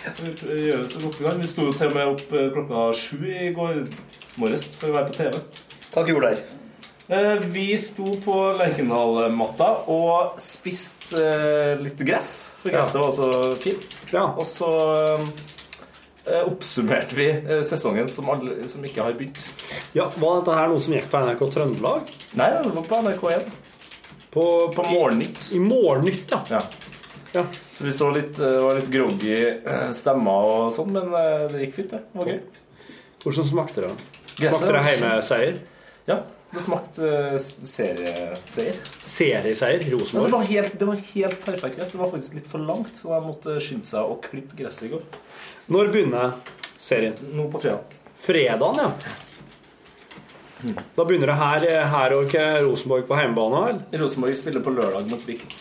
Speaker 12: Vi pr- gjør det så godt vi kan. Vi sto jo til og med opp eh, klokka sju i går morges for å være på TV.
Speaker 14: Hva dere gjorde dere?
Speaker 12: Eh, Vi sto på Lerkendal-matta og spiste eh, litt gress, for
Speaker 8: Ja.
Speaker 12: gresset var også fint. Og så eh, oppsummerte vi eh, sesongen som, alle, som ikke har begynt.
Speaker 8: Ja, Var dette her noe som gikk på NRK Trøndelag?
Speaker 12: Nei, det var på NRK1.
Speaker 8: På,
Speaker 12: Morgennytt.
Speaker 8: I Morgennytt, ja.
Speaker 12: ja. Så vi så litt, eh, det var litt groggy eh, stemmer og sånn, men eh, det gikk fint, det. Det var gøy.
Speaker 8: Hvordan smakte det?
Speaker 12: Gresset
Speaker 8: Smakte det
Speaker 12: var-
Speaker 8: heimeseier?
Speaker 12: Ja. Det smakte eh, serieseier.
Speaker 8: Serieseier?
Speaker 12: Ja, det, var
Speaker 8: Rosenborg?
Speaker 12: helt, det var helt perfekt gress. Det var faktisk litt for langt, så jeg måtte skynde seg å klippe gresset i går.
Speaker 8: Når begynner serien?
Speaker 12: Nå på fredag.
Speaker 8: Fredagen, ja. Da begynner det her, her og ikke Rosenborg på hjemmebane, eller?
Speaker 12: Rosenborg spiller på lørdag mot Viking.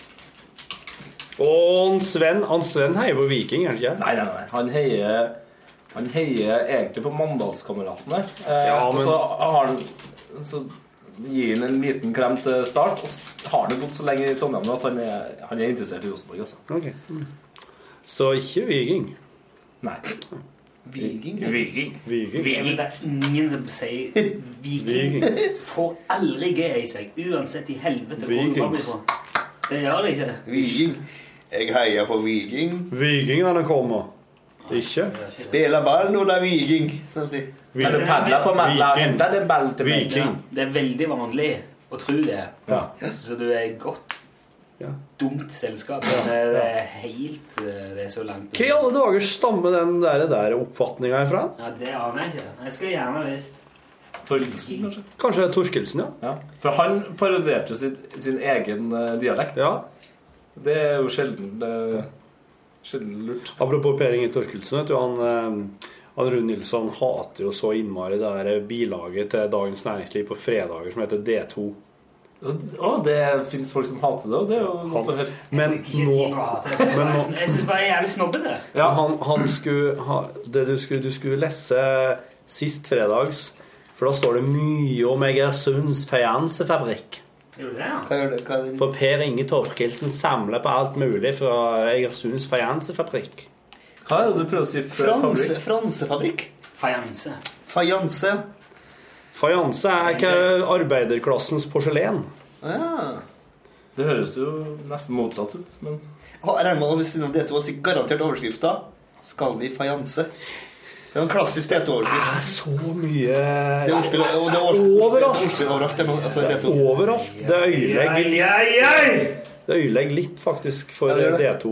Speaker 8: Og han Sven, han Sven heier på Viking, gjør han ikke?
Speaker 12: Nei, nei, nei. Han heier, han heier egentlig på Mandalskameratene. Eh,
Speaker 8: Ja,
Speaker 12: Og
Speaker 8: men-
Speaker 12: så har han Så gir han en liten klem til start, og så har han det godt så lenge i Trondheim nå at han er, han er interessert i Rosenborg, altså.
Speaker 8: Ok. Så ikke Viking?
Speaker 12: Nei.
Speaker 14: Viking?
Speaker 2: Viking.
Speaker 8: Viking.
Speaker 2: Viking. Det er ingen som sier viking.
Speaker 8: Viking.
Speaker 2: Får aldri G i seg, uansett i helvete hvor du
Speaker 14: Viking.
Speaker 2: kommer fra. Det gjør det ikke.
Speaker 14: Viking. Jeg heier på Viking.
Speaker 8: Viking når den kommer. Ikke?
Speaker 14: Spiller ball når det er Viking, som de sier.
Speaker 2: Men det padler på madla, Viking. henter
Speaker 12: det ball til
Speaker 2: Ja, det er veldig vanlig å tro det, så du er i godt, dumt selskap. Men det er helt eh, Det er så langt
Speaker 8: Hva i alle dager stammer den der, der oppfatninga ifra?
Speaker 2: Ja, Det aner jeg ikke. Jeg skulle gjerne visst.
Speaker 12: Torgelsen, kanskje?
Speaker 8: Kanskje det er Torkelsen, ja?
Speaker 12: Ja. For han parodierte sitt, sin egen eh, dialekt. Det er jo sjelden eh, Sjelden lurt.
Speaker 8: Apropos Per Inge Torkelsen, vet du, han, eh, han Rune Nilsson hater jo så innmari det der bilaget til Dagens Næringsliv på fredager som heter D2.
Speaker 12: Å, det fins folk som hater det, og det er jo godt å høre.
Speaker 8: Men nå, men nå
Speaker 2: Jeg syns bare jeg er jævlig snobbete.
Speaker 8: Ja, han, han skulle ha, det du, skulle, du skulle lese sist fredags, for da står det mye om Egersunds fajansefabrikk.
Speaker 2: Gjorde du det, ja?
Speaker 8: For Per Inge Torkelsen samler på alt mulig fra Egersunds fajansefabrikk.
Speaker 12: Hva er det du prøver å si?
Speaker 14: Franse, fransefabrikk.
Speaker 2: Fajanse.
Speaker 14: Fajanse.
Speaker 8: Fajanse er ikke arbeiderklassens porselen.
Speaker 14: Ja.
Speaker 12: Det høres jo nesten motsatt ut, men
Speaker 14: Og jeg regner med at hvis noen dette var sikkert garantert overskrifta, skal vi fajanse. Det er en klassisk DT-overskrift.
Speaker 8: Ah, Så mye
Speaker 14: Det er ordspill og det er ordspill, overalt. Ordspill overalt. Det er noe, altså, DT.
Speaker 8: Overalt. Det øyelegger
Speaker 14: Ja, ja, ja.
Speaker 8: litt, det øyelegger litt faktisk for
Speaker 14: Ja, det gjør det.
Speaker 8: D2.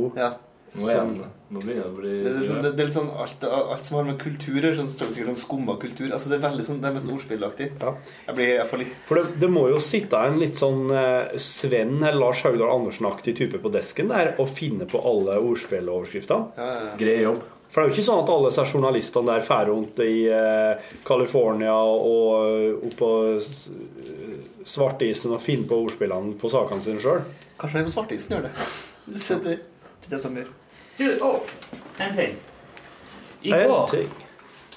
Speaker 12: nå er jeg- nå begynner jeg å bli
Speaker 14: Det er, liksom, det, det er litt sånn alt, alt som har med kultur å gjøre, sånn, står det sikkert sånn skumma kultur. Altså, det er veldig sånn, det er mest ordspillaktig. Jeg blir jeg får litt
Speaker 8: For det, det må jo sitte en litt sånn eh, Sven eller Lars Haugdal Andersen-aktig type på desken der og finne på alle ordspilloverskriftene.
Speaker 12: Grei jobb.
Speaker 8: For det er jo ikke sånn at alle disse journalistene der drar rundt i eh, California og eh, oppå s- eh, svartisen og finner på ordspillene på sakene sine sjøl.
Speaker 14: Kanskje det er på svartisen gjør det. Du ser det, det, er det som gjør.
Speaker 2: Du, å, en ting. I
Speaker 14: En
Speaker 2: går
Speaker 14: ting.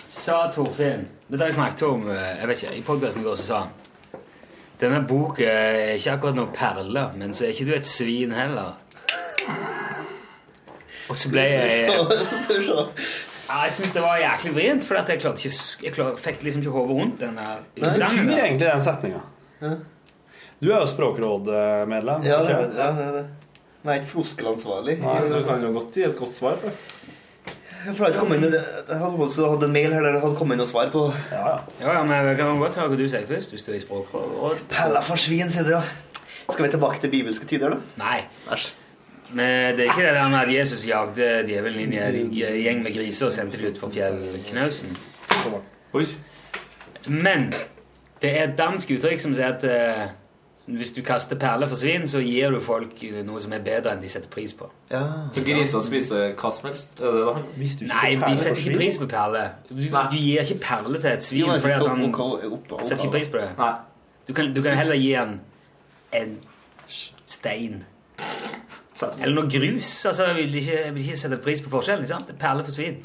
Speaker 2: sa Torfinn Dette har jeg snakket om eh, jeg vet ikke, i podkasten i går. så sa han Denne boka er ikke akkurat noen perle, men så er ikke du et svin heller. Og så ble jeg ja, Jeg syns det var jæklig vrient, for at jeg, klarte ikke, å sk- jeg klar, fikk liksom ikke hodet rundt den der
Speaker 8: Hva betyr
Speaker 2: utsagnen der.
Speaker 8: egentlig den setninga? Du er jo språkrådmedlem.
Speaker 14: Ja, det,
Speaker 8: ikke?
Speaker 14: er- ja, det er det. Men jeg er ikke floskelansvarlig.
Speaker 8: Nei, du
Speaker 12: kan jo godt gi et godt svar. For.
Speaker 14: Jeg har ikke kommet inn i det. Jeg hadde også hatt en mail her der det hadde kommet inn noe svar på
Speaker 2: Ja, ja, men jeg kan godt høre hva du sier først, hvis du er i språkrådet.
Speaker 14: Pella for svin, sier du, ja. Skal vi tilbake til bibelske tider, da?
Speaker 2: Nei. Men eh, det er ikke det der med at Jesus jagde djevelen inn i en gjeng med griser og sendte dem utfor fjellknausen. Men det er et dansk uttrykk som sier at eh, hvis du kaster perler for svin, så gir du folk eh, noe som er bedre enn de setter pris på.
Speaker 12: For griser spiser hva som helst? Er det det?
Speaker 2: Nei, de setter ikke pris på perler. Du, du gir ikke perler til
Speaker 12: Jo,
Speaker 2: et svin
Speaker 14: altså,
Speaker 12: jeg
Speaker 2: fordi
Speaker 12: setter
Speaker 2: at han
Speaker 12: opp- opp- opp-
Speaker 2: setter ikke pris på det. Du kan, du kan heller gi han en stein. Eller noe grus. altså Vil de ikke, vil de ikke sette pris på forskjellen. ikke sant? Perle for svin.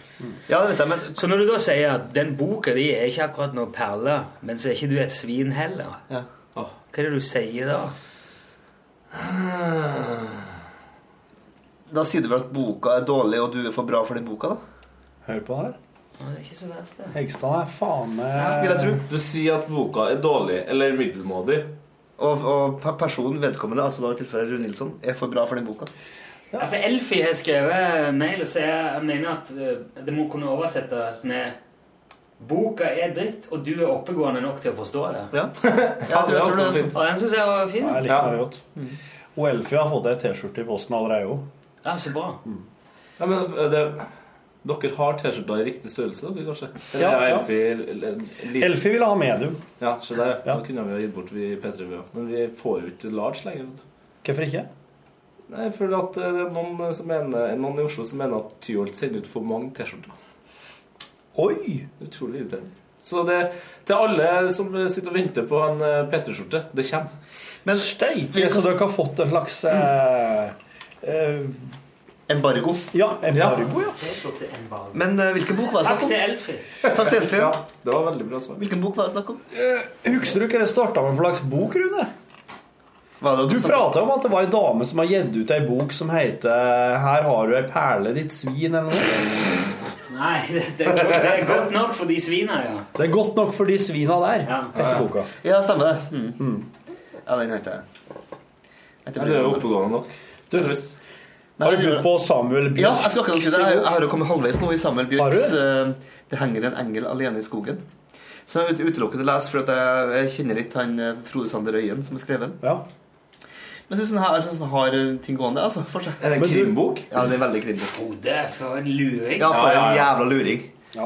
Speaker 2: Så når du da sier at den boka di er ikke akkurat noe perle, men så er ikke du et svin heller, Åh, hva er det du sier da?
Speaker 14: Da sier du vel at boka er dårlig, og du er for bra for den boka, da?
Speaker 8: Hør på det her.
Speaker 2: Nei, det er ikke så verst, det.
Speaker 8: Hegstad er faen meg
Speaker 12: Du sier at boka er dårlig eller middelmådig.
Speaker 14: Og, og per- personen vedkommende, altså da i tilfellet Rune Nilsson, er for bra for den boka.
Speaker 2: Ja, for Elfi har skrevet mail og sier jeg mener at eh, det må kunne oversettes med Boka er dritt, og du er oppegående nok til å forstå det.
Speaker 14: Ja,
Speaker 8: jeg tror- jeg tror det er sånn.
Speaker 2: Og den synes jeg var fin.
Speaker 8: Ja, jeg liker det godt. Og Elfie har fått ei T-skjorte i posten allerede. jo.
Speaker 2: Ja, så bra.
Speaker 12: Ja, men eh, det, dere har T-skjorta i riktig størrelse, dere, kanskje? Eller
Speaker 8: Ja,
Speaker 12: er
Speaker 8: ja.
Speaker 12: Elfi l- l-
Speaker 8: Elfi ville ha medium.
Speaker 12: Ja, se der. Ja. Da kunne vi ha gitt bort vi i P3 vi også. Men vi får jo ikke large lenger. vet du.
Speaker 8: Hvorfor ikke?
Speaker 12: Nei, for at eh, det er noen, eh, som mener, noen i Oslo som mener at Tyholt sender ut for mange T-skjorter.
Speaker 8: Oi!
Speaker 12: Utrolig irriterende. Så det til alle som sitter og venter på en eh, P3-skjorte det kommer.
Speaker 8: Men steike, så dere har fått en slags eh, eh,
Speaker 14: Embargo.
Speaker 8: Ja, embargo, ja.
Speaker 14: Men eh, hvilken bok var det snakk om?
Speaker 2: Elfi.
Speaker 14: Takk til Elfi.
Speaker 8: Ja.
Speaker 12: Det var veldig bra svar.
Speaker 14: Hvilken bok var det snakk om?
Speaker 8: Husker du hva det starta med for slags bok, Rune? Du prata om at det var ei dame som har gitt ut ei bok som heter 'Her har du ei perle, ditt svin', eller noe.
Speaker 2: Nei, det, det, er godt, det er godt nok for de svina, ja.
Speaker 8: Det er godt nok for de svina der, heter boka.
Speaker 14: Ja, stemmer det. Mm. Ja, den heter jeg.
Speaker 12: Ja, det er jo oppegående nok. Tydeligvis.
Speaker 8: Har du begynt på Samuel Bjørk?
Speaker 14: Ja, altså, jeg skal akkurat si det. Jeg, jeg har jo kommet halvveis nå i Samuel Bjørks eh, 'Det henger en engel alene i skogen'. Så jeg ut- utelukker å lese, for at jeg, jeg kjenner litt han eh, Frode Sander Øyen som har skrevet den. Men jeg syns den har, jeg synes den har eh, ting gående altså, for seg.
Speaker 12: Er det en Men du- krimbok?
Speaker 14: Ja, det er en veldig krimbok.
Speaker 2: Frode, for en luring.
Speaker 14: Ja, for
Speaker 12: Ja, ja,
Speaker 14: en
Speaker 12: ja.
Speaker 14: jævla luring.
Speaker 8: Ja.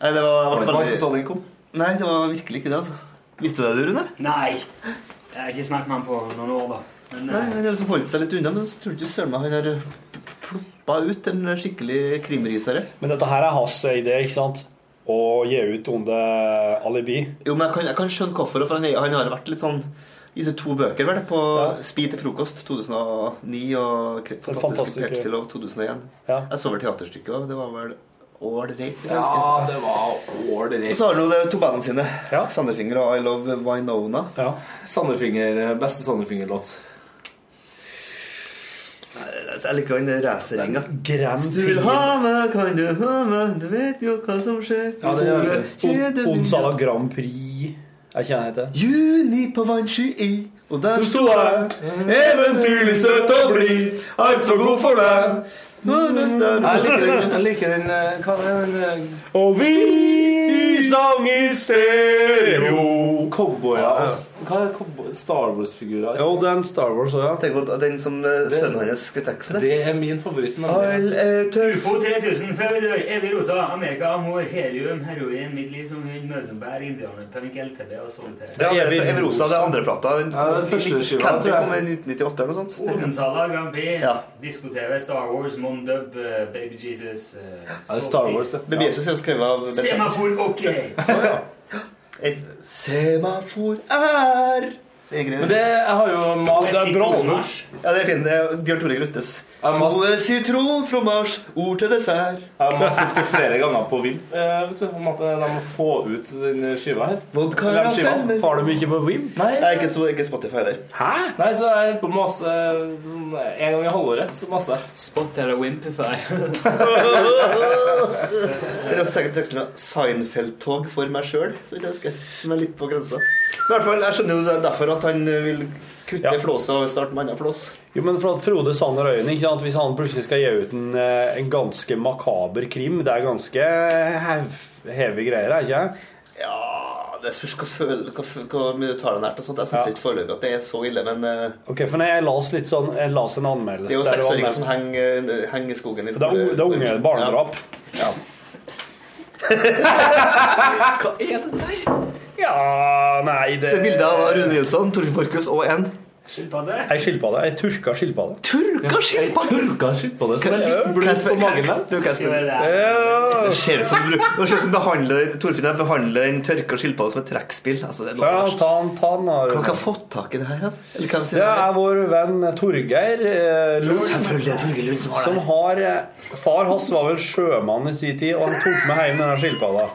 Speaker 14: Nei, det var,
Speaker 12: Var det
Speaker 14: var
Speaker 12: bare så den kom?
Speaker 14: Nei, det var virkelig ikke det, altså. Visste du det, Rune?
Speaker 2: Nei. Jeg har ikke snakket med han på noen år, da. Men,
Speaker 14: Nei, Han har liksom holdt seg litt unna, men så tror du ikke søren meg han har ploppa ut en skikkelig krimrysere.
Speaker 8: Men dette her er hans idé, ikke sant? Å gi ut under alibi.
Speaker 14: Jo, men jeg kan, jeg kan skjønne hvorfor, for han, er- han har vært litt sånn i sine to bøker, vel, på Spi til frokost 2009 og Kre- Fantastiske
Speaker 8: fantastiske-
Speaker 14: Pepsilov 2001. Jeg så vel teaterstykket òg. Det var vel ålreit, vil jeg
Speaker 12: Ja,
Speaker 14: huske.
Speaker 12: det var ålreit.
Speaker 14: Og så har han jo de to bandene sine. Sanderfinger og I Love Winona.
Speaker 12: Sanderfinger, beste Sanderfinger-låt.
Speaker 14: Jeg liker den racerringa.
Speaker 8: Grand
Speaker 14: Hvis du vil ha meg, kan du ha meg, du vet jo hva som skjer.
Speaker 8: Ja, det er
Speaker 12: liksom
Speaker 14: Kjeden min-
Speaker 8: Onsala Grand Prix. Jeg kjenner det.
Speaker 14: Juni på vannsky i, og der
Speaker 8: Du
Speaker 14: sto jeg. Eventyrlig søt og blid, altfor god for deg.
Speaker 12: Jeg liker den, jeg liker den eh, Hva er den eh,
Speaker 8: Og vi sang i stereo.
Speaker 12: Cowboyer og s- Hva er cowboy- Star Wars-figurer?
Speaker 8: Jo, det er en Star Wars òg, ja.
Speaker 14: Tenk på den som eh, sønnen hans skrev teksten.
Speaker 12: Det er min favoritt.
Speaker 2: UFO 3000, før vi dør, evig rosa, Amerika, amor, helium, heroin, mitt liv som hund, mødrebær, indianer, punk, LTB og solter.
Speaker 14: Ja, det er Evrosa, det er andre plata. Den,
Speaker 2: Ja, det er den første skiva,
Speaker 14: Candy
Speaker 2: tror jeg.
Speaker 14: kom i 1998 eller noe sånt.
Speaker 2: Odensala, Grand Prix,
Speaker 14: Ja.
Speaker 2: Disko-TV, Star Wars, Mondub, eh, Baby Jesus eh, Salty.
Speaker 14: Baby Jesus er jo skrevet av Ben Stiller.
Speaker 2: Semafor, ok!
Speaker 14: Et semafor er Det er greit.
Speaker 12: Men det jeg har jo mas
Speaker 14: Det er bra,
Speaker 12: Sitroner.
Speaker 14: Ja, det er fint. Det er Bjørn Tore Gruttes.
Speaker 12: Jeg mas-
Speaker 14: Noe sitron fra Mars, ord til dessert.
Speaker 12: Jeg har mast opp til flere ganger på Vim eh, vet du, om at eh, de må få ut den skiva her.
Speaker 14: Vodka
Speaker 12: Den
Speaker 14: Rafael,
Speaker 12: skiva.
Speaker 14: men- Har
Speaker 8: du mye på Vim?
Speaker 12: Nei.
Speaker 14: Jeg er ikke, stor, ikke Spotify heller.
Speaker 8: Hæ?
Speaker 12: Nei, så jeg holder på å mase eh, sånn, en gang i halvåret. Så maser jeg.
Speaker 2: Spot eller Wimpify.
Speaker 14: Dere har sikkert teksten av 'Seinfeld-tog for meg sjøl', så vidt jeg husker. Som er litt på grensa. Men i hvert fall, jeg skjønner jo det er derfor at han vil kutte flåsa og starte med annen flås.
Speaker 8: Jo, men for at Frode Sanner Øyen, ikke sant? Hvis han plutselig skal gi ut en, eh, en ganske makaber krim Det er ganske hev, hevige greier, er det ikke det?
Speaker 14: Ja, det spørs hva, føl- hva, f- hva mye du tar den nært og sånt. Jeg syns ikke foreløpig at det er så ille, men eh,
Speaker 8: Ok, for når jeg las litt sånn Jeg las en anmeldelse
Speaker 14: det er jo
Speaker 8: der var
Speaker 14: seksåringer
Speaker 8: anmeldt-
Speaker 14: som henger, eh, henger i skogen. I
Speaker 8: Så det er, u- det er unge barnedrap.
Speaker 14: Ja. Hva er det der?
Speaker 8: Ja, nei Det
Speaker 14: Det er bildet av Rune Nilsson, Torfinn Borchhus og en
Speaker 2: Skilpadde?
Speaker 8: Ei skilpadde. Ei tørka skilpadde.
Speaker 14: Turka skilpadde?
Speaker 12: Turka skilpadde
Speaker 14: som er litt blod på magen der. Du, kan jeg spørre? Det ser ut som du det ser ut som behandler- Torfinn jeg behandler en tørka skilpadde som et trekkspill. Altså, det er noe
Speaker 8: Ja,
Speaker 14: verst.
Speaker 8: ta han, ta han. da,
Speaker 14: Hva
Speaker 8: Rune.
Speaker 14: har dere fått tak i det her? da? Eller hvem
Speaker 8: Det er vår venn Torgeir eh, Lund.
Speaker 14: Selvfølgelig er det Torgeir Lund som har det.
Speaker 8: Som har eh, Far hans var vel sjømann i sin tid, og han tok med hjem denne skilpadda.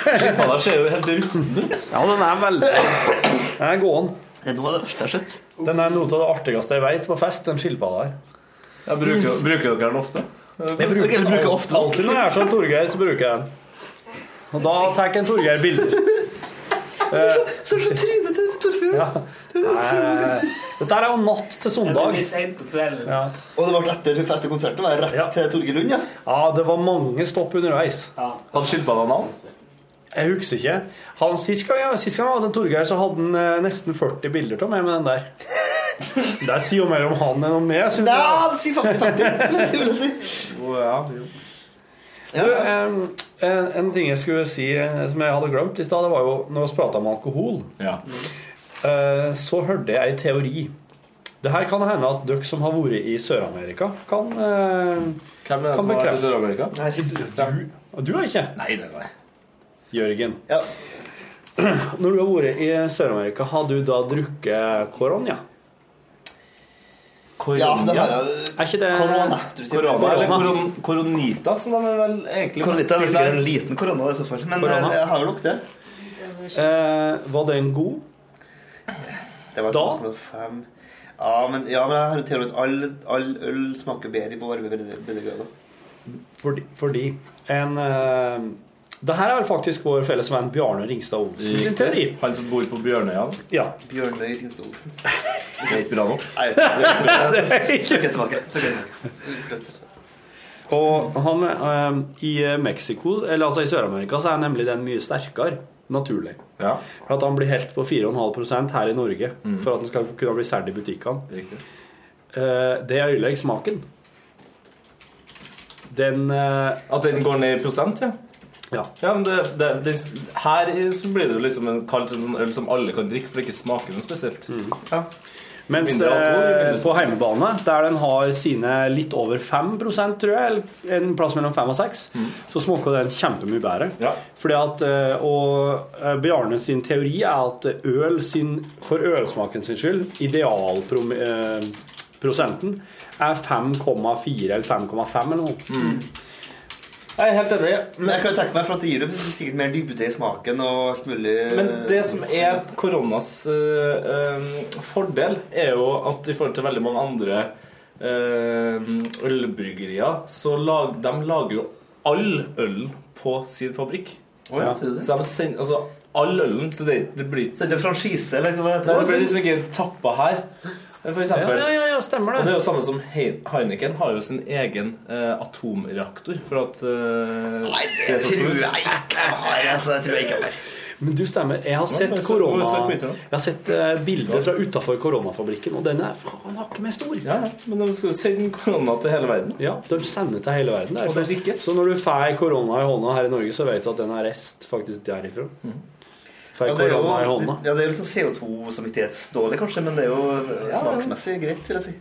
Speaker 12: Skilpadda ser jo helt rusten ut.
Speaker 8: Ja, den er veldig Den er gåen.
Speaker 14: Det er noe av det verste jeg har sett.
Speaker 8: Den er noe av det artigste jeg vet på fest, den skilpadda her.
Speaker 12: Jeg bruker, bruker dere den ofte?
Speaker 8: Jeg bruker,
Speaker 12: Jeg bruker ofte.
Speaker 8: Alltid når jeg er som Torgeir, så bruker jeg den. Og da tar jeg en Torgeir bilder.
Speaker 14: Så er det trynet til Torfinn.
Speaker 8: Ja. Nei, Dette her er jo natt til søndag. Ja.
Speaker 14: Og det ble etter, etter konserten? Var det rett til Torgeir Lund, ja?
Speaker 8: Ja, det var mange stopp underveis.
Speaker 12: Hadde skilpadda navn?
Speaker 8: Jeg husker ikke. Han, sist gang jeg sist gang jeg hadde en Torgeir, så hadde han eh, nesten 40 bilder av meg med den der. Det sier jo mer om han enn om meg, syns
Speaker 14: Nei, han sier 50-50, vil jeg si.
Speaker 8: Du, em, en, en ting jeg skulle si eh, som jeg hadde glemt i stad, det var jo når vi prata om alkohol. Eh, Så hørte jeg en teori. Det her kan hende at dere som har vært i Sør-Amerika, kan, eh,
Speaker 12: Hvem er det
Speaker 8: kan
Speaker 12: som har vært i
Speaker 8: bekrefte-
Speaker 12: Sør-Amerika?
Speaker 8: Du, du har ikke?
Speaker 12: Nei, nei, nei.
Speaker 8: Jørgen. Når du har vært i Sør-Amerika, har du da drukket koronia?
Speaker 14: Ja, det har jeg.
Speaker 8: Er ikke det
Speaker 14: Korona.
Speaker 12: Korona, eller koron, koronita, som de vel egentlig må
Speaker 14: Koronita er vel
Speaker 12: si der.
Speaker 14: sikkert en liten korona i så fall. Men
Speaker 8: Korona.
Speaker 14: eh, jeg har jo lukte.
Speaker 8: Eh, var den god?
Speaker 14: Det var
Speaker 8: Da?
Speaker 14: 2005. Ja, men, ja, men jeg har en teori at all, all øl smaker bedre på varme brennegrøder.
Speaker 8: Fordi, fordi en eh, Det her er vel faktisk vår felles venn Bjarne Ringstad Olsen sin
Speaker 12: Riktig.
Speaker 8: teori.
Speaker 12: Han som bor på Bjørnøya.
Speaker 8: Ja.
Speaker 14: Bjørnøy Ringstad Olsen.
Speaker 12: Det er ikke bra nok.
Speaker 14: Nei,
Speaker 8: Det er ikke-
Speaker 14: Trykk det tilbake. Trykk det tilbake.
Speaker 8: Og han eh, i Mexico, eller altså i Sør-Amerika, så er nemlig den mye sterkere. Naturlig. For at han blir helt på 4,5 her i Norge
Speaker 12: Mm.
Speaker 8: for at den skal kunne bli solgt i butikkene.
Speaker 12: Riktig.
Speaker 8: Eh, det ødelegger smaken. Den
Speaker 12: At den går ned i prosent, ja?
Speaker 8: Ja.
Speaker 12: men det, det, det, her i- så blir det jo liksom en, kalt en sånn øl som alle kan drikke, for det ikke smaker noe spesielt.
Speaker 8: Mens
Speaker 12: Mindre alkohol,
Speaker 8: eh,
Speaker 12: mindre
Speaker 8: på hjemmebane, der den har sine litt over 5 tror jeg, eller en plass mellom 5 og 6, så smaker den kjempemye bedre. Fordi at, eh, og eh, Bjarne sin teori er at øl sin, for ølsmaken sin skyld, idealprosenten, er 5,4 eller 5,5 eller noe.
Speaker 12: Jeg er helt enig.
Speaker 14: Men jeg kan jo tenke meg, for at det gir jo sikkert mer dybde i smaken og alt mulig
Speaker 12: Men det som er koronas eh, eh, fordel, er jo at i forhold til veldig mange andre eh, ølbryggerier, så lag, de lager jo all ølen på sin fabrikk.
Speaker 14: Å ja, sier du det?
Speaker 12: Så de sender altså, all ølen Så det, det blir
Speaker 14: Så det er franchise, eller hva
Speaker 12: Nei,
Speaker 14: det
Speaker 12: det
Speaker 14: heter?
Speaker 12: blir liksom ikke tappa her. For eksempel.
Speaker 14: Ja, ja, ja, ja, stemmer det.
Speaker 12: Og det er jo samme som Hei- Heineken har jo sin egen eh, atomreaktor for at eh, Nei,
Speaker 14: det tror jeg ikke jeg har. Altså, det tror jeg ikke jeg har.
Speaker 8: Men du stemmer. Jeg har
Speaker 12: Ja,
Speaker 8: sett,
Speaker 12: men så- hvor
Speaker 8: korona,
Speaker 12: er søk biter da?
Speaker 8: jeg har sett eh, bilder fra utafor koronafabrikken, og den er faen hakket meg stor.
Speaker 12: Ja, men de skal sende korona til hele verden.
Speaker 8: Ja, de sender til hele verden.
Speaker 12: Og det drikkes.
Speaker 8: Så når du får korona i hånda her i Norge, så vet du at den er rest faktisk derifra.
Speaker 12: Mhm.
Speaker 8: Får
Speaker 14: det er jo-
Speaker 8: korona i hånda.
Speaker 14: Ja, det er jo litt sånn CO2-samvittighetsdårlig, kanskje, men det er jo eh,
Speaker 12: Ja, ja.
Speaker 14: smaksmessig greit, vil jeg si.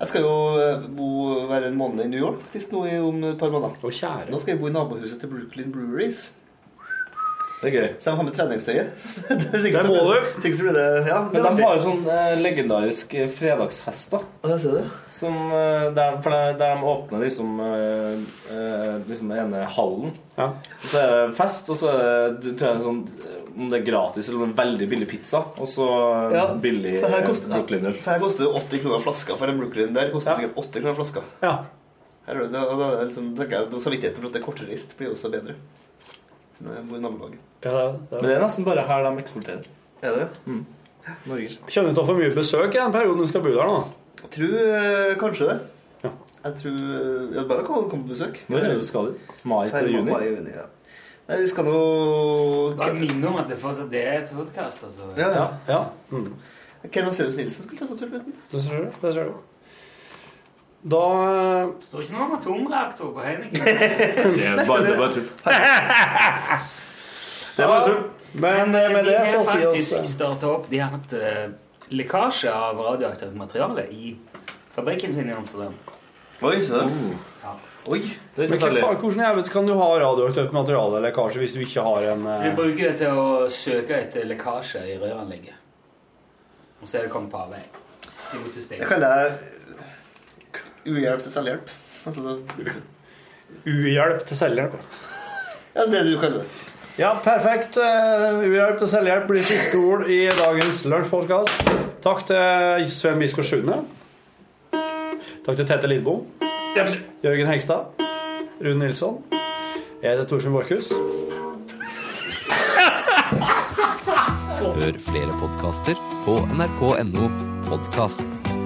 Speaker 14: Jeg skal jo eh, bo være en måned i New York faktisk nå i, om et par måneder. Nå skal jeg bo i nabohuset til Brooklyn Breweries.
Speaker 12: Det er gøy.
Speaker 14: Så jeg må ha med treningstøyet. Hvis ikke
Speaker 12: Der
Speaker 14: så
Speaker 12: må
Speaker 14: blir-
Speaker 12: du.
Speaker 14: hvis ikke så blir det- ja, det
Speaker 12: Men de
Speaker 14: blir-
Speaker 12: har jo sånn eh, legendarisk eh, fredagsfest, da. Som, eh, der, for der, der de åpner liksom eh, eh, Liksom den ene hallen. Og Så er det fest, og så er det du tror jeg, det er sånn eh, Om det er gratis eller om det er veldig billig pizza, og så eh,
Speaker 14: Ja,
Speaker 12: billig
Speaker 14: for her
Speaker 12: eh,
Speaker 14: koster-
Speaker 12: Brooklyner.
Speaker 14: For her koster det 80 kroner flaska for en Brooklyn. Der koster det sikkert 80 kroner flaska.
Speaker 8: Ja.
Speaker 14: Her er det, da, da, er det liksom, tenker jeg, da Samvittigheten for at det er kortreist, blir jo også bedre. Siden jeg bor i nabolaget.
Speaker 12: Men det er nesten bare her de eksporterer.
Speaker 14: Er det?
Speaker 12: Mm. Norge.
Speaker 8: Kjenner du til å få mye besøk i den perioden du skal bo der nå?
Speaker 14: Jeg tror eh, kanskje det. Jeg tror eh, ja, Bare kom, kom på besøk.
Speaker 12: Når er det du skal dit? Mai
Speaker 14: Feil,
Speaker 12: til juni?
Speaker 14: mai, juni, ja. Nei, vi skal nå
Speaker 15: Bare minn om at det fortsatt det er podkast, altså.
Speaker 14: Ja, ja.
Speaker 8: ja.
Speaker 14: Ken Vasenius Nilsen skulle ta seg tur med den.
Speaker 8: Det ser du. Det ser du. Da
Speaker 15: Står ikke noe om atomreaktor på Heineken.
Speaker 12: er bare- det er bare tull. Det er bare tull.
Speaker 8: Men
Speaker 15: eh,
Speaker 8: med
Speaker 15: de
Speaker 8: det
Speaker 15: har
Speaker 8: så sier vi
Speaker 15: faktisk
Speaker 8: oss-
Speaker 15: startet opp De har hatt eh, lekkasje av radioaktivt materiale i fabrikken sin i Amsterdam.
Speaker 14: Oi, så
Speaker 12: Mm.
Speaker 15: Ja.
Speaker 14: Oi.
Speaker 15: Det
Speaker 8: Men hva faen, hvordan jævlig kan du ha radioaktivt materiale lekkasje hvis du ikke har en eh,
Speaker 15: Vi bruker det til å søke etter lekkasje i røranlegget. Og så er det kommet på avvei. De måtte stenge.
Speaker 14: Jeg kaller det uhjelp til selvhjelp. Altså, det-
Speaker 8: Uhjelp til selvhjelp.
Speaker 14: ja, det du kaller det.
Speaker 8: Ja, perfekt. Eh, Uhjelp til selvhjelp blir siste ord i dagens lunsjpodkast. Takk til Sven Biskår Sune. Takk til Tete Lidbom. Jørgen Hegstad. Rune Nilsson. Jeg heter Torfinn Borchhus.
Speaker 16: Hør flere podkaster på nrk.no podkast.